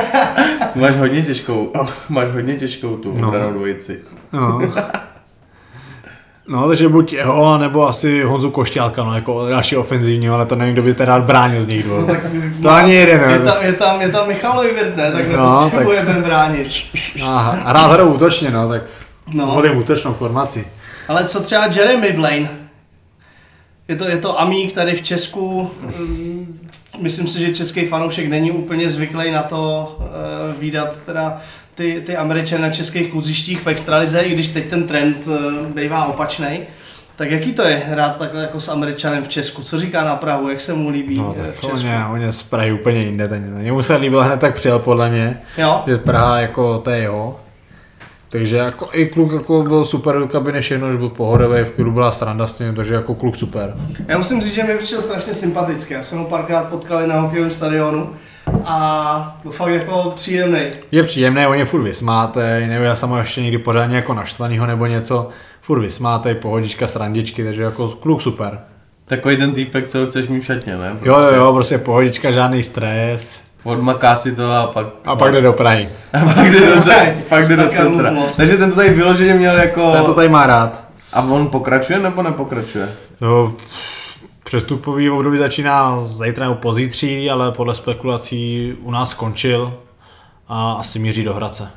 [LAUGHS] Máš hodně těžkou, máš hodně těžkou tu No. obranou dvojici. no. No, takže buď jeho, nebo asi Honzu Košťálka, no, jako další ofenzivní, ale to nevím, kdo by teda bránil z nich dvou. To ani jeden, No, Je no. tam, je tam, je tam Michal Ojvirt, ne? Tak No, nepotřebuje ten bránit. Aha, a rád hrou útočně, no, tak No. volím útočnou formaci. Ale co třeba Jeremy Blaine? Je to, je to amík tady v Česku. Mm, Myslím si, že český fanoušek není úplně zvyklý na to uh, výdat teda ty, ty Američany na českých kluzištích v extralize, i když teď ten trend uh, bývá opačný. Tak jaký to je hrát takhle jako s Američanem v Česku? Co říká na Prahu? Jak se mu líbí No, eh, v tak on Česku? je, on je z Prahy úplně jinde, ten, jemu se líbil hned tak přijel podle mě, Jo? že Praha jako to je jeho. Takže jako i kluk jako byl super do kabiny, všechno, že byl pohodový, v klidu byla sranda s ním, takže jako kluk super. Já musím říct, že mi přišel strašně sympatický. Já jsem ho párkrát potkal i na hokejovém stadionu a byl fakt jako příjemný. Je příjemné, on je furt vysmátej, nevěděl jsem ho ještě někdy pořádně jako naštvanýho nebo něco, furt vysmátej, pohodička, srandičky, takže jako kluk super. Takový ten týpek, co ho chceš mít v šatně, ne? Jo, jo, jo, prostě pohodička, žádný stres. Odmaká si to a pak... A pak jde do Prahy. A pak jde do, Tak. pak jde do Tak já centra. mluvím moc. Takže ten to tady vyloženě měl jako... Ten to tady má rád. A on pokračuje nebo nepokračuje? No, Přestupový období začíná zítra nebo pozítří, ale podle spekulací u nás skončil a asi míří do Hradce.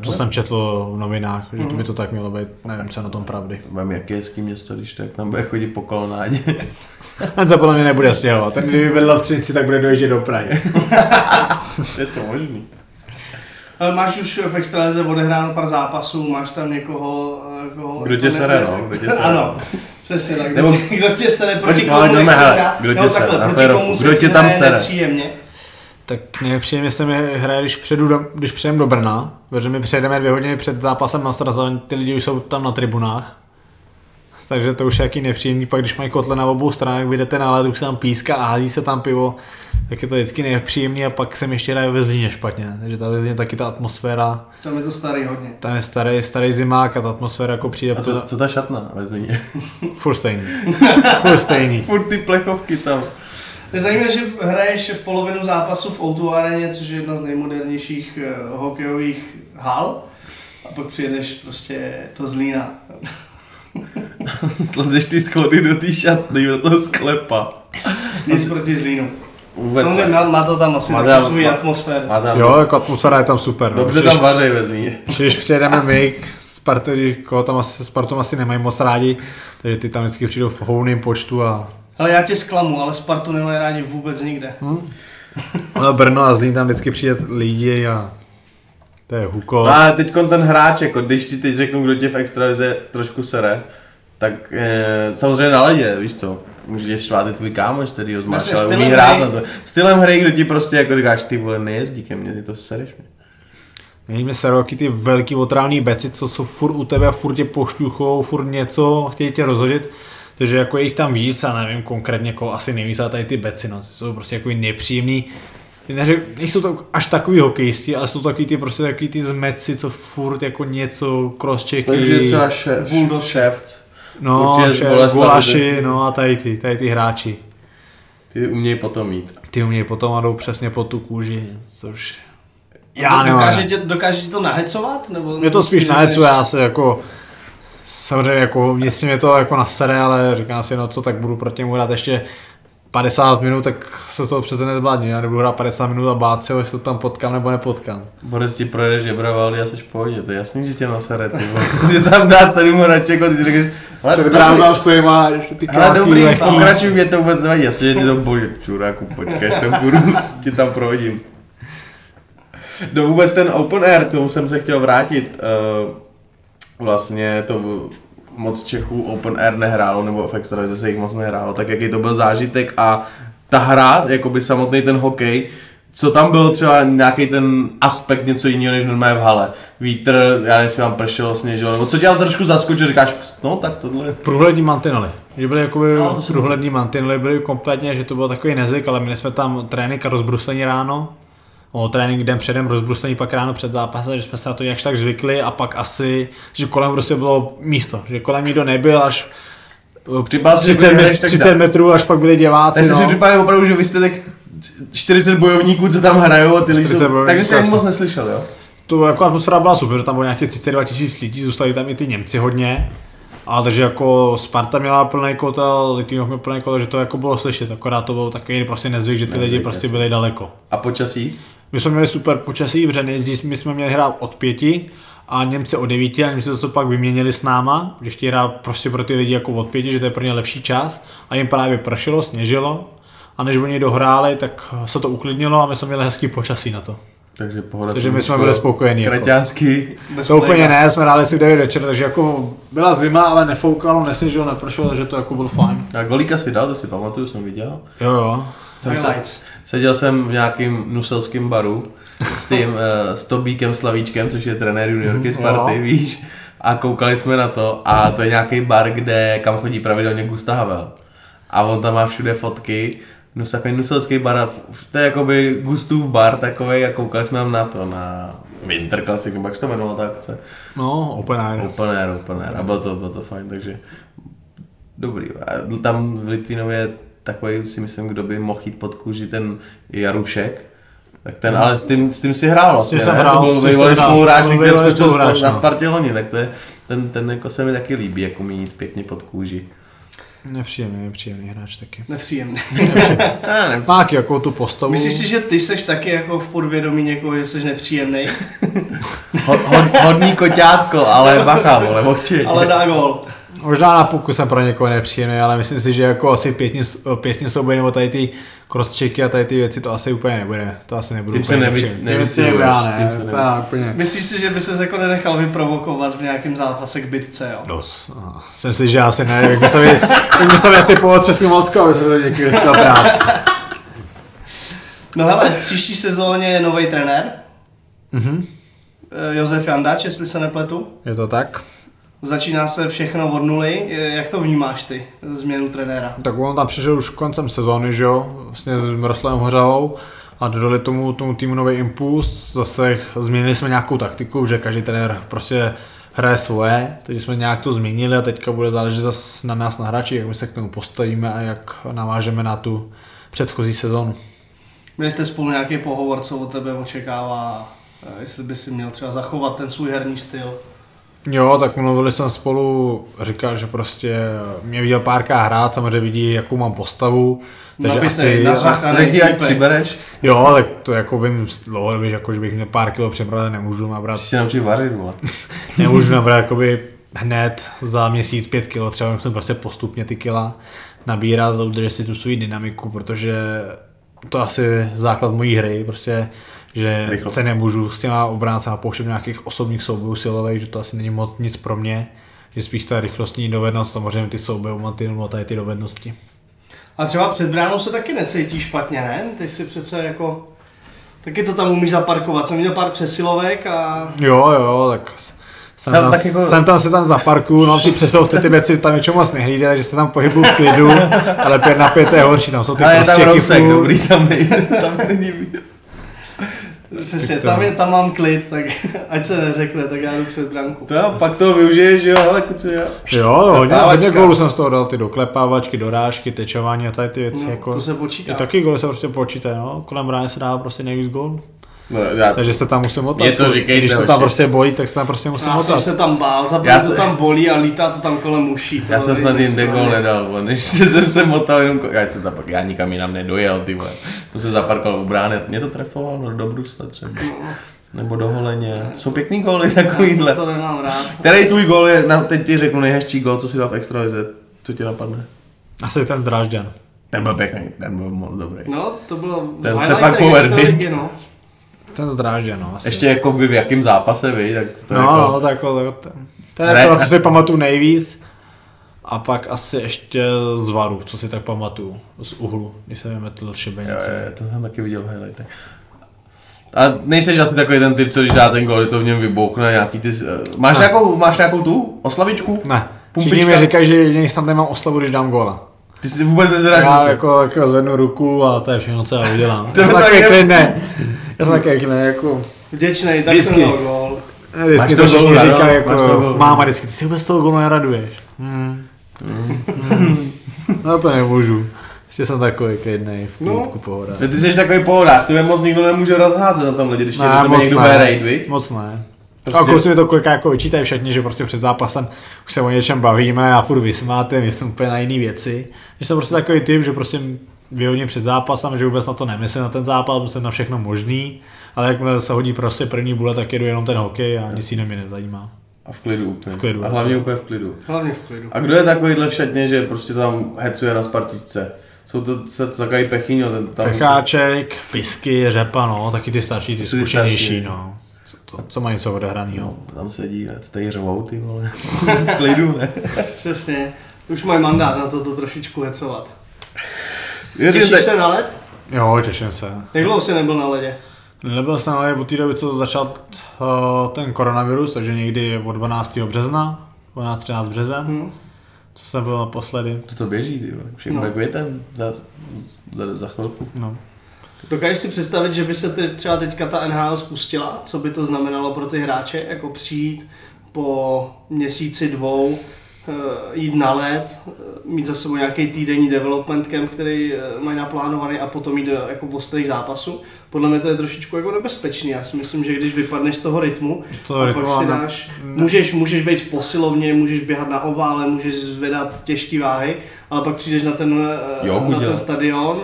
To jsem četl v novinách, že to by to tak mělo být, nevím, co je na tom pravdy. [LAUGHS] Vem, jak je hezký město, když tak tam bude chodit po kolonádě. [LAUGHS] Ten se podle mě nebude stěhovat, ten kdyby byl v Třinci, tak bude dojíždět do Prahy. je to možný. Ale Máš už v extralize odehráno pár zápasů, máš tam někoho... eh, koho- Kdo tě ne- sere, no, kdo tě sere. [LAUGHS] Ano, přesně tak. Kdo, Nebo- tě, kdo tě sere, proti No, komu ale jdeme, nechce hele, hrát, kdo tě nebo sere, takhle, na proti férovku, komu kdo se tě tam hraje sere? nepříjemně. Tak nejpříjemně se mi hraje, když, přejdu do, když přejem do Brna, protože my přejdeme dvě hodiny před zápasem na Strazan, ty lidi už jsou tam na tribunách. Takže to už je jaký nepříjemný, pak když mají kotle na obou stranách, vyjdete na led, už se tam píská a hází se tam pivo, tak je to vždycky nepříjemný a pak se mi ještě hraje ve Zlíně špatně. Takže ta ve Zlíně taky ta atmosféra, Tam je to starý hodně. tam je starý, starý zimák a ta atmosféra jako přijde A co, co ta šatna ve Zlíně? furt stejný. furt stejný. [LAUGHS] Furt ty plechovky tam. [LAUGHS] Je zajímavé, že hraješ v polovinu zápasu v O2 areně, což je jedna z nejmodernějších eh, hokejových hal. A pak přijedeš prostě do Zlína. Slezeš ty schody do té šatny, do toho sklepa. Nic No. proti Zlínu. Vůbec No, ne. má, má to tam asi Má taky tam- svůj má- atmosféru. Má tam, Jo, jako atmosféra je tam super. no. dobře Když- tam vařej ve Zlíně. Ještě Když přijedeme my, Spartu, koho tam asi, Spartum asi nemají moc rádi, takže ty tam vždycky přijdou v houným počtu a Ale já tě zklamu, ale Spartu nemají rádi vůbec nikde. Hm? ale No, Brno a Zlín tam vždycky přijde lidi a to je huko. No a teď ten hráč, jako když ti teď řeknu, kdo tě v extralize trošku sere, tak e, samozřejmě na ledě, víš co, může tě štvát i tvůj kámoš, který ho zmáš, Vlastně ale umí stylem hrát hry. na to. Stylem hry, kdo ti prostě jako říkáš, ty vole, nejezdí ke mně, ty to sereš mě. Není mi se roky ty velký otrávný beci, co jsou furt u tebe a furt tě pošťuchou, furt něco, chtějí tě rozhodit. Takže jako je jich tam víc a nevím konkrétně koho asi nejvíc, ale tady ty beci, no, ty jsou prostě jako nepříjemný. Neřek, nejsou to až takový hokejisti, ale jsou to takový ty prostě takový ty zmeci, co furt jako něco, crosschecky. Takže třeba šéf, Bulldog. šéfc, No, Určitě z šéf, Boleslavy, gulaši, že? no a tady ty, tady ty hráči. ty umějí potom jít. Ty umějí potom a jdou přesně po tu kůži, což já nemám. dokáže, tě, dokáže No, ti to nahecovat? Nebo Mě to spíš nahecu, já se jako samozřejmě jako vnitřně mě to jako nasere, ale říkám si, no co, tak budu proti němu hrát ještě 50 minut, tak se z toho přece nezbládně, já nebudu hrát 50 minut a bát se, jestli to tam potkám nebo nepotkám. Boris ti projedeš žebrovaldy a seš v pohodě, to je jasný, že tě nasere, ty vole. Že tam dá sedm hraček a ty si řekneš, ale dobrý, Právě tam stojím a ty ale krátký, dobrý, lehký. pokračuj, mě to vůbec nevadí, jasně, že ti to bolí, čuráku, počkáš, to budu, [LAUGHS] ti tam prohodím. No vůbec ten open air, k tomu jsem se chtěl vrátit. Eh, Vlastně to moc Čechů open air nehrálo, nebo v extralize se jich moc nehrálo, tak jaký to byl zážitek a ta hra, jakoby samotný ten hokej, co tam bylo třeba nějaký ten aspekt něco jiného než normálně v hale. Vítr, já nevím, jestli vám pršelo, sněžilo, nebo co tě tam trošku zaskočilo, říkáš, no tak tohle je Průhlední mantinely. Že byly jakoby No, to jsem- průhlední mantinely, byly kompletně, že to bylo takový nezvyk, ale měli jsme tam trénink a rozbruslení ráno. O trénink den předem, rozbruslení pak ráno před zápasem, že jsme se na to jakž tak zvykli a pak asi, že kolem prostě bylo místo, že kolem nikdo nebyl až Připadal si, že 30, byli met, hned tak 30 dál. metrů, až pak byli Tak diváci. jste si No. připadali opravdu, že vy jste tak 40 bojovníků, co tam hrajou a ty lidi 40 jsou... bojovníků, Takže jste ani asi. moc neslyšel, jo? To jako atmosféra byla super, že tam bylo nějakých 32 tisíc lidí, zůstali tam i ty Němci hodně. Ale takže jako Sparta měla plný kotel, Litvinov měl plný kotel, že to jako bylo slyšet, akorát to byl takový prostě nezvyk, že ty lidi Nezvyk, prostě jasně. byli daleko. A počasí? My jsme měli super počasí, protože nejdřív my jsme měli hrát od pěti a Němci od devíti a Němci to co pak vyměnili s náma, že chtějí hrát prostě pro ty lidi jako od pěti, že to je pro ně lepší čas a jim právě pršelo, sněžilo a než oni dohráli, tak se to uklidnilo a my jsme měli hezký počasí na to. Takže pohoda Takže my jsme byli spokojení. Jako. Kraťánsky. Bez To úplně playback. ne, jsme hráli si v 9 večer, takže jako byla zima, ale nefoukalo, nesněžilo, nepršelo, takže to jako bylo fajn. A golíka si dal, to si pamatuju, jsem viděl. Jo, jo. Jsem se, Highlights. seděl jsem v nějakým nuselském baru s tím, eh, s Tobíkem Slavíčkem, což je trenér juniorky Sparty, Jo. víš? A koukali jsme na to a to je nějaký bar, kde, kam chodí pravidelně Gusta Havel. A on tam má všude fotky, nus, takový nuselský bar, a v- to je jakoby Gustův bar takový a koukali jsme tam na to, na Winter Classic, nebo jak se to jmenovalo ta akce. No, open air. Open air, open air. A bylo to, bylo to fajn, takže dobrý. A tam v Litvinově je takový si myslím, kdo by mohl jít pod kůži ten Jarušek. Tak ten, ale s tím, s tím si hrál vlastně, jsem ne? hrál, to byl Mhm. s tím jsem bývalý hrál. To spoluhráč, byl který bývalý skočil spoluhráč, na no. Spartě loni, tak to je, ten, ten jako se mi taky líbí, jako mít pěkně pod kůži. Nepříjemný, nepříjemný hráč taky. [LAUGHS] Nepříjemný. No. Já nevím. Má taky jako tu postavu. Myslíš si, že ty seš taky jako v podvědomí někoho, že seš nepříjemný, Ho, ho, hodný koťátko, ale bacha, vole, oči. ale dá gol. Možná na puku jsem pro někoho nepříjemný, ale myslím si, že jako asi pětní, pěstní souboje nebo tady ty crosschecky a tady ty věci to asi úplně nebude. To asi nebudu Tím se úplně nevy- nepříjemný. Tím nevysíláš, si nebude, já ne. tím se nevysíláš. Tak, úplně. Myslíš si, že by se jako nenechal vyprovokovat v nějakém zápase k bitce, jo? Dos. Aha. Jsem si, že asi ne, jak by se mi, jak by se mi asi pootřesl mozku, aby se to někdy chtěl brát. No hele, v příští sezóně je nový trenér, Mhm. eh, Josef Jandač, jestli se nepletu. Je to tak? Začíná se všechno od nuly. Eh, Jak to vnímáš ty, změnu trenéra? Tak on tam přišel už koncem sezóny, že jo, vlastně s Miroslavem Hořavou a dodali tomu, tomu týmu nový impuls, zase změnili jsme nějakou taktiku, že každý trenér prostě hraje svoje, takže jsme nějak to změnili a teďka bude záležet zase na nás, na hráči, jak my se k tomu postavíme a jak navážeme na tu předchozí sezónu. Měli jste spolu nějaký pohovor, co od tebe očekává, eh, jestli by si měl třeba zachovat ten svůj herní styl. Jo, tak mluvili jsme spolu, říkal, že prostě mě viděl párkrát hrát, samozřejmě vidí, jakou mám postavu, takže Nabitej, asi, nazvach. Řekni, ať přibereš. Jo, tak to jako vím z dlouhodobě, že jako, že bych měl pár kilo přebrat, nemůžu nabrat, Příště se naučit vařit, vole. nemůžu nabrat jakoby hned za měsíc pět kilo, třeba musím prostě postupně ty kila nabírat a udržet si tu svou dynamiku, protože to asi je základ mojí hry, prostě, že Rychlost. se nemůžu s těma obráncema pouštět do nějakých osobních soubojů silových, že to asi není moc nic pro mě, že spíš ta rychlostní dovednost, samozřejmě ty souboje, mám ty, no, tady ty dovednosti. A třeba před bránou se taky necítíš špatně, ne? Ty si přece jako... Taky to tam umíš zaparkovat. Jsem měl pár přesilovek a... Jo, jo, tak s- jsem Tam tam, tak tak jako- jsem tam se tam zaparkuju, mám ty přesilovky, ty věci tam něčemu moc nehlídají, takže se tam pohybuju v klidu, ale pět na pět je horší, tam jsou ty prostě Ale je tam prostěky rousek, furt. dobrý, tam nejde, tam není vidět. Přesně, Tak to- tam, je, tam mám klid, tak [LAUGHS] ať se neřekne, tak já jdu před branku. To jo, pak toho využiješ, že jo, ale kuci, jo. Jo, hodně, hodně Klepávačka. gólů jsem z toho dal, ty doklepávačky, dorážky, tečování a tady ty věci, No, jako... to se počítá. I taky góly se prostě počítají, no, kolem brány se dá prostě nejvíc gól, No, já, takže se tam musím otat. Je to furt. říkejte, Když to hoši. tam prostě bolí, tak se tam prostě musím Já jsem otat. se tam bál, Já za se- to tam bolí a lítá to tam kolem uší. to já jsem je snad nic no. jinde gol pro mě. nedal, vole, než [LAUGHS] jsem se motal jenom, ko- já jsem tam pak, já nikam jinam nedojel, ty vole. Jsem se zaparkoval u brány, mě to trefovalo no, do brusle třeba, nebo do holeně. Jsou pěkný góly Já takovýhle. To nemám rád. Který tvůj gól je, na, teď ti řeknu nejhezčí gól, co si dal v extralize, co ti napadne? Asi ten zdrážděn. Ten byl pěkný, ten byl moc dobrý. No, to bylo se highlight fakt té povedl, Extraligy, viď? no. Ten zdrážděn, no, asi. Ještě jako by v jakém zápase, vy, tak to no, jako... no, tak jako, jako ten. To je Hraje- jako, na co si pamatuju nejvíc. A pak asi ještě z varu, co si tak pamatuju. Z uhlu, když jsem vymetl v Jo, jo, jo, šibenici. to jsem taky viděl v highlightech. A nejseš asi takový ten typ, co když dá ten gol, je to v něm vybouchne nějaký ty... eh, Máš, Ne. nějakou, máš nějakou tu oslavičku? Ne, Pumpička? všichni mi říkají, že jediný snad nemám oslavu, když dám góla. Ty si vůbec nezvedáš Já ruce. jako, jako zvednu ruku a to je všechno, co já udělám. [LAUGHS] To já jsem tak takový je- klid ne. Já jsem takový klid ne, jako... Vděčnej, tak Vždycky. jsem dal gol. Vždycky toho to všichni góla, jo? říkají, Máš toho jako... góla. Máma vždycky, ty si vůbec z toho gólu neraduješ. Hmm. [LAUGHS] No to nemůžu. Ještě jsem takový klidnej, v No. klidku pohoda. Ty jsi takový pohodář, tebe moc nikdo nemůže rozházet na tom lidi, když tě do tebe někdo bude raid, viď? moc ne. Prostě- Prostě... A kluci mi to kolika jako vyčítají všichni, že prostě před zápasem už se o něčem bavíme a furt vysmáte, my jsme úplně na jiné věci. Že jsem prostě takový typ, že prostě vyhodně před zápasem, že vůbec na to nemyslím na ten zápas, myslím na všechno možný, ale jakmile se hodí prostě první bule, tak jedu jenom ten hokej a nic jiného mě nezajímá. A v klidu úplně. V klidu. A hlavně úplně v klidu. Hlavně v klidu. A kdo je takovýhle v šatně, že prostě tam hecuje na Spartičce? Jsou to, se, to takový pechyňo, ten tam... Pecháček, pisky, řepa, no, taky ty starší, ty ty starší, zkušenější, jo. no. Co, to, co mají co odehranýho. No, tam sedí, a tady řvou ty vole. [LAUGHS] v klidu, ne? Přesně. Už mají mandát na to, to trošičku hecovat. Věřím, Těšíš tak... se na led? Jo, těším se. Jak dlouho jsi nebyl na ledě? Nebyl jsem ale od té doby, co začal uh, ten koronavirus, takže někdy od 12. března, 12-13 březen, Hm? co jsem byl naposledy. Co to běží, ty vole? Už je No. no. květen za, za, za chvilku. No. Dokážeš si představit, že by se te, třeba teďka ta NHL spustila? Co by to znamenalo pro ty hráče? Jako přijít po měsíci, dvou, eh, jít na let, eh, mít za sebou nějaký týdenní development camp, který eh, mají naplánovaný a potom jít do jako ostrých zápasů. Podle mě to je trošičku jako nebezpečný. Já si myslím, že když vypadneš z toho rytmu, To a pak rytmová si na- dáš, můžeš, můžeš být v posilovně, můžeš běhat na ovále, můžeš zvedat těžké váhy, ale pak přijdeš na ten, eh, Jogu na ten dělat. stadion,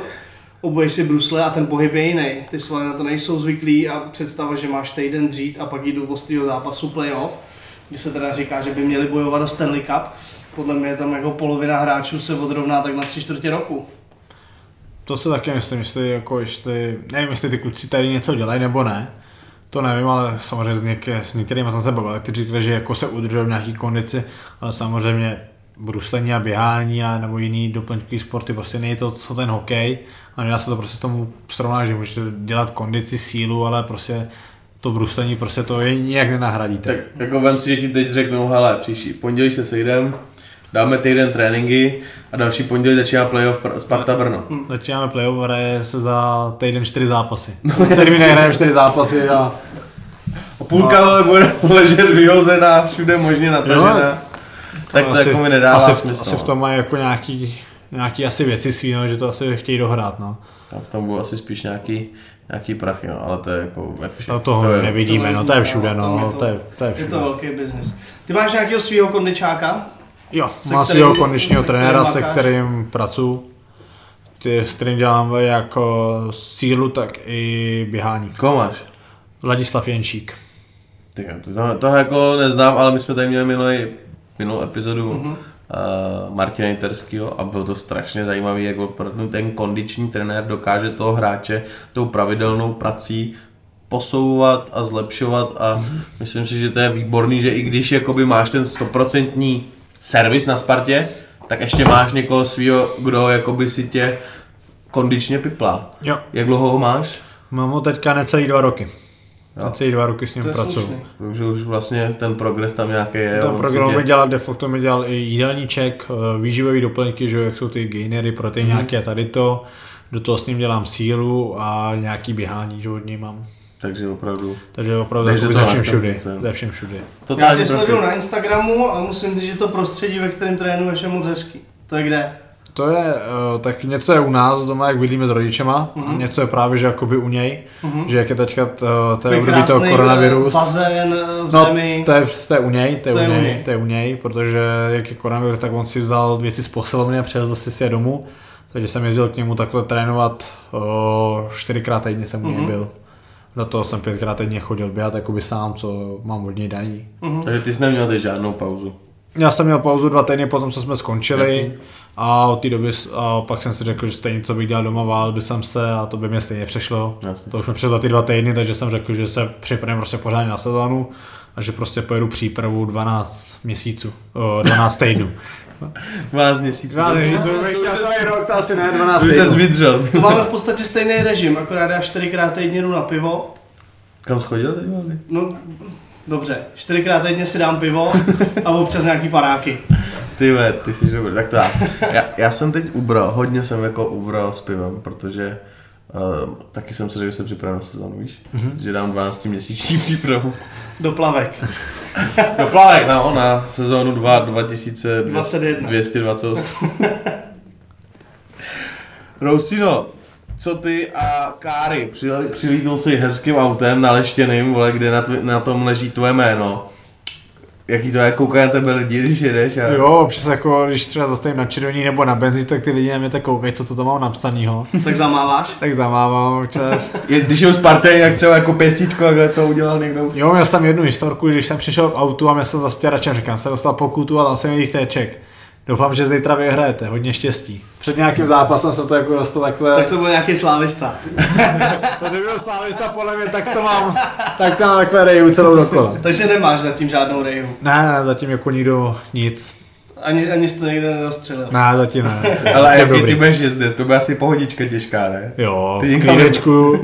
obuješ si brusle a ten pohyb je jiný. Ty svaly na to nejsou zvyklí a představa, že máš týden dřít a pak jít do ostrého zápasu playoff, kdy se teda říká, že by měli bojovat do Stanley Cup, podle mě tam jako polovina hráčů se odrovná tak na tři čtvrtě roku. To se taky myslím, jestli, jako, jestli, nevím, jestli ty kluci tady něco dělají nebo ne. To nevím, ale samozřejmě s, něk- s některými jsem se bavil, kteří říkali, že jako se udržují v nějaký kondici, ale samozřejmě bruslení a běhání a nebo jiný doplňkový sporty, prostě není to, co ten hokej a nedá se to prostě s tomu srovnat, že můžete dělat kondici, sílu, ale prostě to bruslení prostě to je nijak nenahradíte. Tak jako vem si, že ti teď řeknou, hele, příští pondělí se sejdem, dáme týden tréninky a další pondělí začíná playoff Pr- Sparta Brno. Začínáme playoff, hraje se za týden čtyři zápasy. No, Sedmi hrajeme čtyři zápasy a A půlka ale bude [LAUGHS] ležet vyhozená, všude možně Jo. natažená. Tak to No, asi- jako mi nedává asi, v- smysl. no. Asi v tom mají jako nějaký, nějaký asi věci svý, no, že to asi chtějí dohrát. No. Tam v tom budou asi spíš nějaký, nějaký prachy, no, ale to je jako ve všem. To toho to to je, nevidíme, to no to je nevzniká, všude, tam je no, to- to je, to je Je všude. to velký biznis. Ty máš nějakého svého kondičáka? Jo, se kterým- má svého kondičního se kterým trenéra, se makáš? kterým pracuji. Ty, s kterým dělám jako sílu, tak i běhání. Koho máš? Ladislav Jenčík. Ty, jo, to, to, to jako neznám, ale my jsme tady měli minulý, minulou epizodu Mhm. mm-hmm. uh, Martina Jiterského a bylo to strašně zajímavé, jak opravdu ten kondiční trenér dokáže toho hráče tou pravidelnou prací posouvat a zlepšovat a myslím si, že to je výborný, že i když jakoby máš ten stoprocentní servis na Spartě, tak ještě máš někoho svého, kdo jakoby si tě kondičně piplá. Jo. Jak dlouho ho máš? Mám ho teďka necelý dva roky. Jo. Necelý dva roky s ním To je pracuji. slušný. Takže už vlastně ten progres tam nějaký je. Ten on si program tě- mi dělal, de facto mi dělal i jídelníček, eh, výživový doplňky, že jo, jak jsou ty gainery, proteiny Mhm. mm-hmm. nějaké a tady to. Do toho s ním dělám sílu a nějaký běhání, že od něj mám. Takže opravdu. Takže opravdu Takže jakoby to ze na všem všudy. stanice. Ze všem všudy. Já tě sleduju na Instagramu a musím říct, že to prostředí, ve kterém trénuješ, je moc hezký. To je kde? To je, eh, tak něco je u nás doma, jak bydlíme s rodičema, mm-hmm. něco je právě, že jakoby u něj, mm-hmm. že jak je teďka t- to je období toho krásnej, koronavirus. eh, bazén eh, v No, zemi. to je, to je u něj, to je, u něj, to je u něj, protože jak je koronavir, tak on si vzal věci z posilovny a převezl si si je domů, takže jsem jezdil k němu takhle trénovat, o, čtyřikrát týdně jsem u něj byl. Do toho jsem pětkrát týdně chodil běhat, jakoby sám, co mám od něj daný. Takže ty jsi neměl teď žádnou pauzu. Já jsem měl pauzu dva týdny potom, co jsme skončili Jasně. a od té doby s- a pak jsem si řekl, že stejně co bych dělal doma, válel by jsem se a to by mě stejně přešlo. Jasně. To už mi přešlo za ty dva týdny, takže jsem řekl, že se připravím prostě pořádně na sezónu a že prostě pojedu přípravu 12 měsíců, o, 12 [LAUGHS] týdnů. 12 měsíců. rok, to asi ne, 12 Už se zvidřel. To máme v podstatě stejný režim, akorát já čtyřikrát týdně jdu na pivo. Kam schodil teď Valdy? No, dobře, čtyřikrát týdně si dám pivo a občas nějaký paráky. Ty ve, ty jsi dobrý. Tak to já. já. Já, jsem teď ubral, hodně jsem jako ubral s pivem, protože Uh, taky jsem si řekl, že se připravím na sezónu, víš? Mm-hmm. Že dám 12 měsíční přípravu. Do plavek. Do plávek na ona sezónu 2 21. 2228. Rousino, co ty a Káry, Přile- přilítnul si hezkým autem naleštěným, vole, kde na, tv- na tom leží tvoje jméno. Jaký to je, koukají na tebe lidi, když jedeš a... Jo, občas jako, když třeba zastavím na červení nebo na benzín, tak ty lidi na mě tak koukají, co to tam mám napsanýho. [LAUGHS] Tak zamáváš? Tak zamávám občas. Je, když je u Spartany, tak třeba jako pěstičko, takhle, co udělal někdo. Jo, měl jsem tam jednu historku, když jsem přišel k autu a mě se zastěračem říkám, jsem dostal pokutu a dal jsem jí téček. Doufám, že zítra vyhrajete, hodně štěstí. Před nějakým zápasem jsem to jako dostal takhle. Tak to byl nějaký slávista. to kdyby byl slávista podle mě, tak to mám, tak to mám takhle reju celou dokola. Takže nemáš zatím žádnou rejhu. Ne, ne, zatím jako nikdo nic. Ani, ani jsi to někde nedostřelil. Ne, zatím ne. Ale To je jaký dobrý. ty budeš jezdec, to bude asi pohodička těžká, ne? Jo, Ty v někam- klídečku,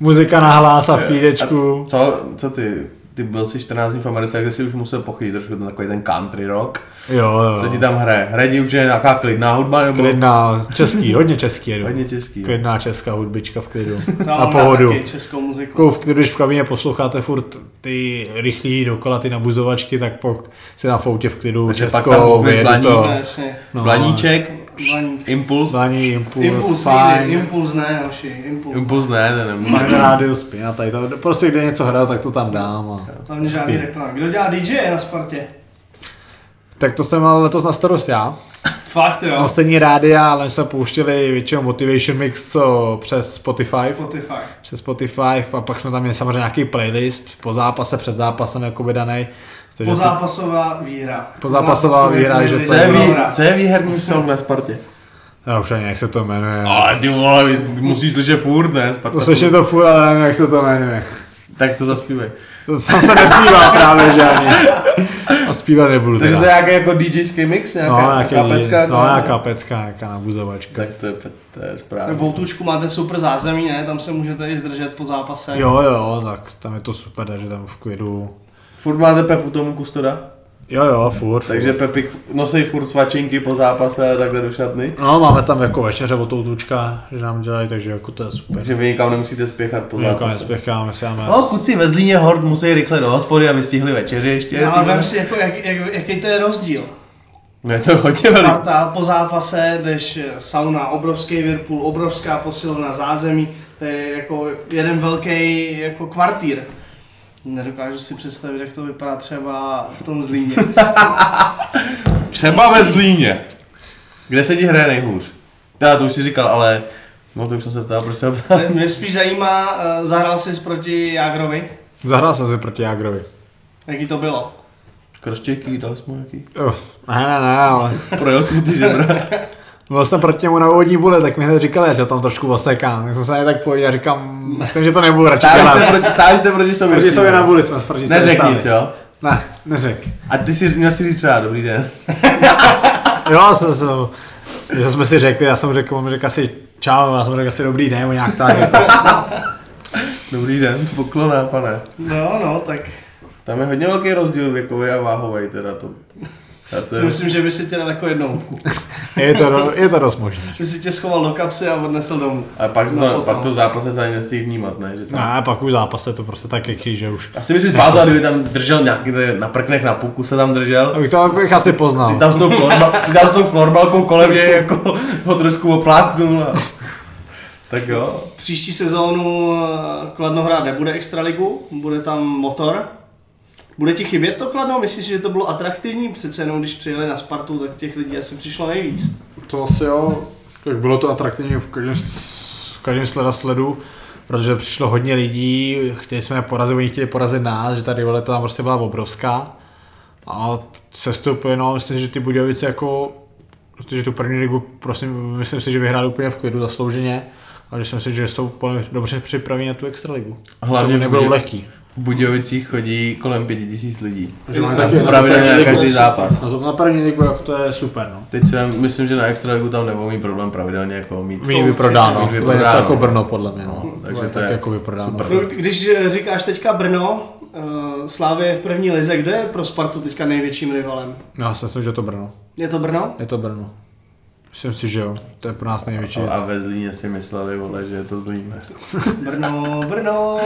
muzika na hlas a v klídečku. Co, co ty? Ty ty byl si 14 dní v Americe, kde si už musel pochytit trošku ten takový ten country rock. Jo, jo. Co ti tam hraje? Hraje ti už je nějaká klidná hudba nebo Klidná, český, hodně český jedu. hodně český? Klidná česká hudbička v klidu. Já A mám rád pohodu. No, taky českou muziku. Jako, v- když v kabině posloucháte furt ty rychlí dokola, ty nabuzovačky, tak pak si na foutě v klidu Takže pak tam českou, mohli vyjedu blanít, to. Ne, jasně. No, Blaníček, Blaník. Impuls. Blaní, impuls, Impuls, impuls nikdy, fajn. impuls ne, hoši, impuls. Impuls ne, ne, ne. Fajn rádio, spin a tady to. Prostě kde něco hrál, tak to tam dám. A... Hlavně žádný reklám. Kdo dělá DJ na Spartě? Tak to jsem měl letos na starost já. Fakt jo. Na stejní rádia, ale jsme pouštěli většinou Motivation Mix co, přes Spotify. Spotify. přes Spotify a pak jsme tam měli samozřejmě nějaký playlist po zápase, před zápasem jakoby danej. Takže to- Pozápasová výhra. Pozápasová Pozápasový výhra, že playlist. Co je, vý, co je výherní song na Spartě? Já už ani jak se to jmenuje. No, Ale ty vole, ty musíš slyšet furt, ne? Sparta. To slyším to furt, ale nevím, jak se to jmenuje. Tak to zaspívej. To tam se nespívá právě žádný. A zpívat nebudu Takže teda. to je nějaký jako DJský mix, nějaká, No, no, nějaký, pecka? no, nějaká pecka, nějaká nabuzovačka. Tak to je, to je správně. Voutučku máte super zázemí, ne? Tam se můžete i zdržet po zápase. Jo, jo, tak tam je to super, že tam v klidu. Furt máte Pepu tomu kustoda? Jo, jo, furt. Takže furt. Pepik nosí furt svačinky po zápase a takhle do šatny. No, máme tam jako večeře od toutučka, že nám dělají, takže jako to je super. Takže vy nikam nemusíte spěchat po My jako zápase. nespěcháme, se máme... No, kuci ve Zlíně hord musí rychle do hospody, aby stihli večeři ještě. ty No, ale vole. vem si, jako, jak, jak, jaký to je rozdíl. No, je to hodně velký. Sparta po zápase, jdeš eh, sauna, obrovský Whirlpool, obrovská posilovna, zázemí, to je jako jeden velký jako kvartír. Nedokážu si představit, jak to vypadá třeba v tom Zlíně. Třeba ve Zlíně. Kde se ti hraje nejhůř? Já to už si říkal, ale... No to už jsem se ptal, proč jsem ptal. [LAUGHS] Mě spíš zajímá, eh, zahrál jsi proti Jágrovi? Zahrál jsem si proti Jagrovi. Jaký to bylo? Kroštěky, dal jsi mu nějaký? Uh, ne, ne, ne, ale Projel jsi mu ty žebra. byl jsem proti němu na úvodní bule, tak mi hned říkali, že tam trošku osekám. Tak jsem se na ně tak pojil a říkám, myslím, že to nebudu radši Stáli jste dělat. proti, stáli jste proti sobě. Proti sobě na buli jsme s proti sobě Neřek stáli. nic, jo? Ne, neřek. A ty si měl si říct třeba, dobrý den. Jo, jsem, jsem, že jsme si řekli, já jsem řekl, on řekl asi čau, já jsem řekl asi dobrý den, nebo nějak tak. Jako. Dobrý den, poklona, pane. No, no, tak Tam je hodně velký rozdíl věkový a váhový, teda to. A to si je, myslím, že by si tě dal jako jednou hubku. Je to, do- je to dost možný. Že si tě schoval do kapsy a odnesl domů. a pak, se No, to, potom. pak to zápase se ani nestih vnímat, ne? Že No tam... a pak už zápas je to prostě tak jaký, že už. Asi by si spátal, kdyby tam držel nějaký, tady na prknech na puku se tam držel. Abych to bych asi poznal. Ty tam s tou, florba, ty tam s tou florbalkou kolem něj jako ho trošku oplácnul. A... Tak jo. Příští sezónu eh, Kladno hrát nebude extraligu, bude tam motor. Bude ti chybět to Kladno? Myslíš, že to bylo atraktivní? Přece jenom když přijeli na Spartu, tak těch lidí asi přišlo nejvíc. To asi jo, tak bylo to atraktivní v každém, v každém sleda sledu, protože přišlo hodně lidí, chtěli jsme je porazit, oni chtěli porazit nás, že ta rivalita tam prostě byla obrovská. A sestup, no, myslím si, že ty Budějovice jako, protože tu první ligu, prosím, myslím si, že vyhráli úplně v klidu zaslouženě. A že si myslím, že jsou podle mě dobře připraveni na tu extraligu. Hlavně to nebylo Buděj- lehký. V Budějovicích chodí kolem pěti tisíc lidí. Že mají Tam taky to na pravidelně první na ligu každý jsou- zápas. No, Na, na první ligu, jako to je super, no. Teď si vem- myslím, že na extraligu tam nebudou mít problém pravidelně jako mít. Mí vyprodáno, Mít to je něco vyprodáno. jako Brno podle mě, no. No, takže To je to tak je jako vyprodáno. super. No, Když eh, říkáš teďka Brno, eh, Slávě je v první lize, kdo je pro Spartu teďka největším rivalem? Já si myslím, že je to Brno. Je to Brno? Je to Brno. Myslím si, že jo. To je pro nás největší. A ve Zlíně si mysleli, vole, že je to Zlín. Brno, Brno.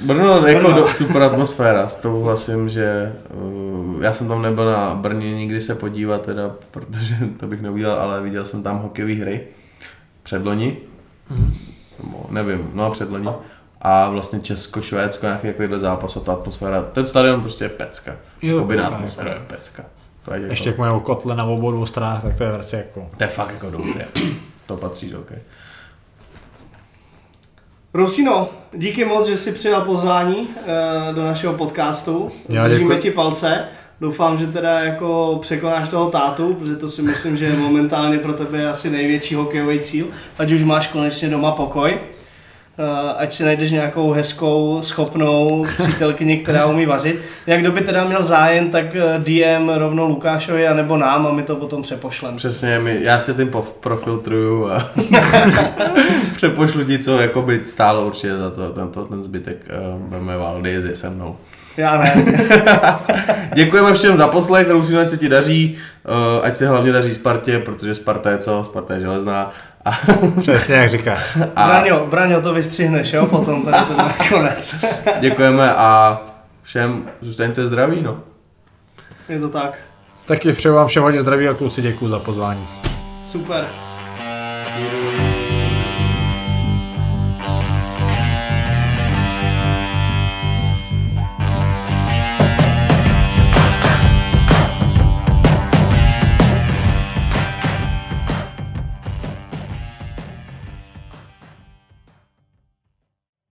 Brno, jako Brno. do, super atmosféra, s tou hlasím, že uh, já jsem tam nebyl na Brně nikdy se podívat teda, protože to bych neudělal, ale viděl jsem tam hokejové hry předloni, Mhm. nebo nevím, no předloni a vlastně Česko, Švédsko, nějaký takovýhle zápas a ta atmosféra, ten stadion prostě je pecka, Je to Obyná pecka, atmosféra je jako. pecka, to je, Ještě Ještě. jak mají kotle na obou dvou stranách, tak to je prostě jako... to je fakt jako dobré, to patří do okay. Rusino, díky moc, že jsi přijal pozvání eh, do našeho podcastu. Já Držíme děkuji. ti palce. Doufám, že teda jako překonáš toho tátu, protože to si myslím, že je momentálně pro tebe asi největší hokejový cíl, ať už máš konečně doma pokoj. Eh, Ať si najdeš nějakou hezkou, schopnou přítelkyni, která umí vařit. Jak kdo by teda měl zájem, tak eh, DM rovnou Lukášovi, anebo nám a my to potom přepošlem. Přesně, my, já se tím pov- profiltruju a [LAUGHS] jako eh, přepošlu ti, co jakoby stálo určitě za to, ten, to, ten zbytek um, Veme Valdy je se mnou. Já [LAUGHS] ne. Děkujeme všem za poslech, doufám, ať se ti daří, eh, ať se hlavně daří Spartě, protože Sparta je co? Sparta je železná. A, Přesně jak říká. [LAUGHS] a Braňo, Braňo, to vystřihneš, jo, potom tady to na konec. děkujeme a všem zůstaňte zdraví, no. Je to tak. Taky přeju vám všem hodně zdraví a kluci děkuji za pozvání. Super. Thank you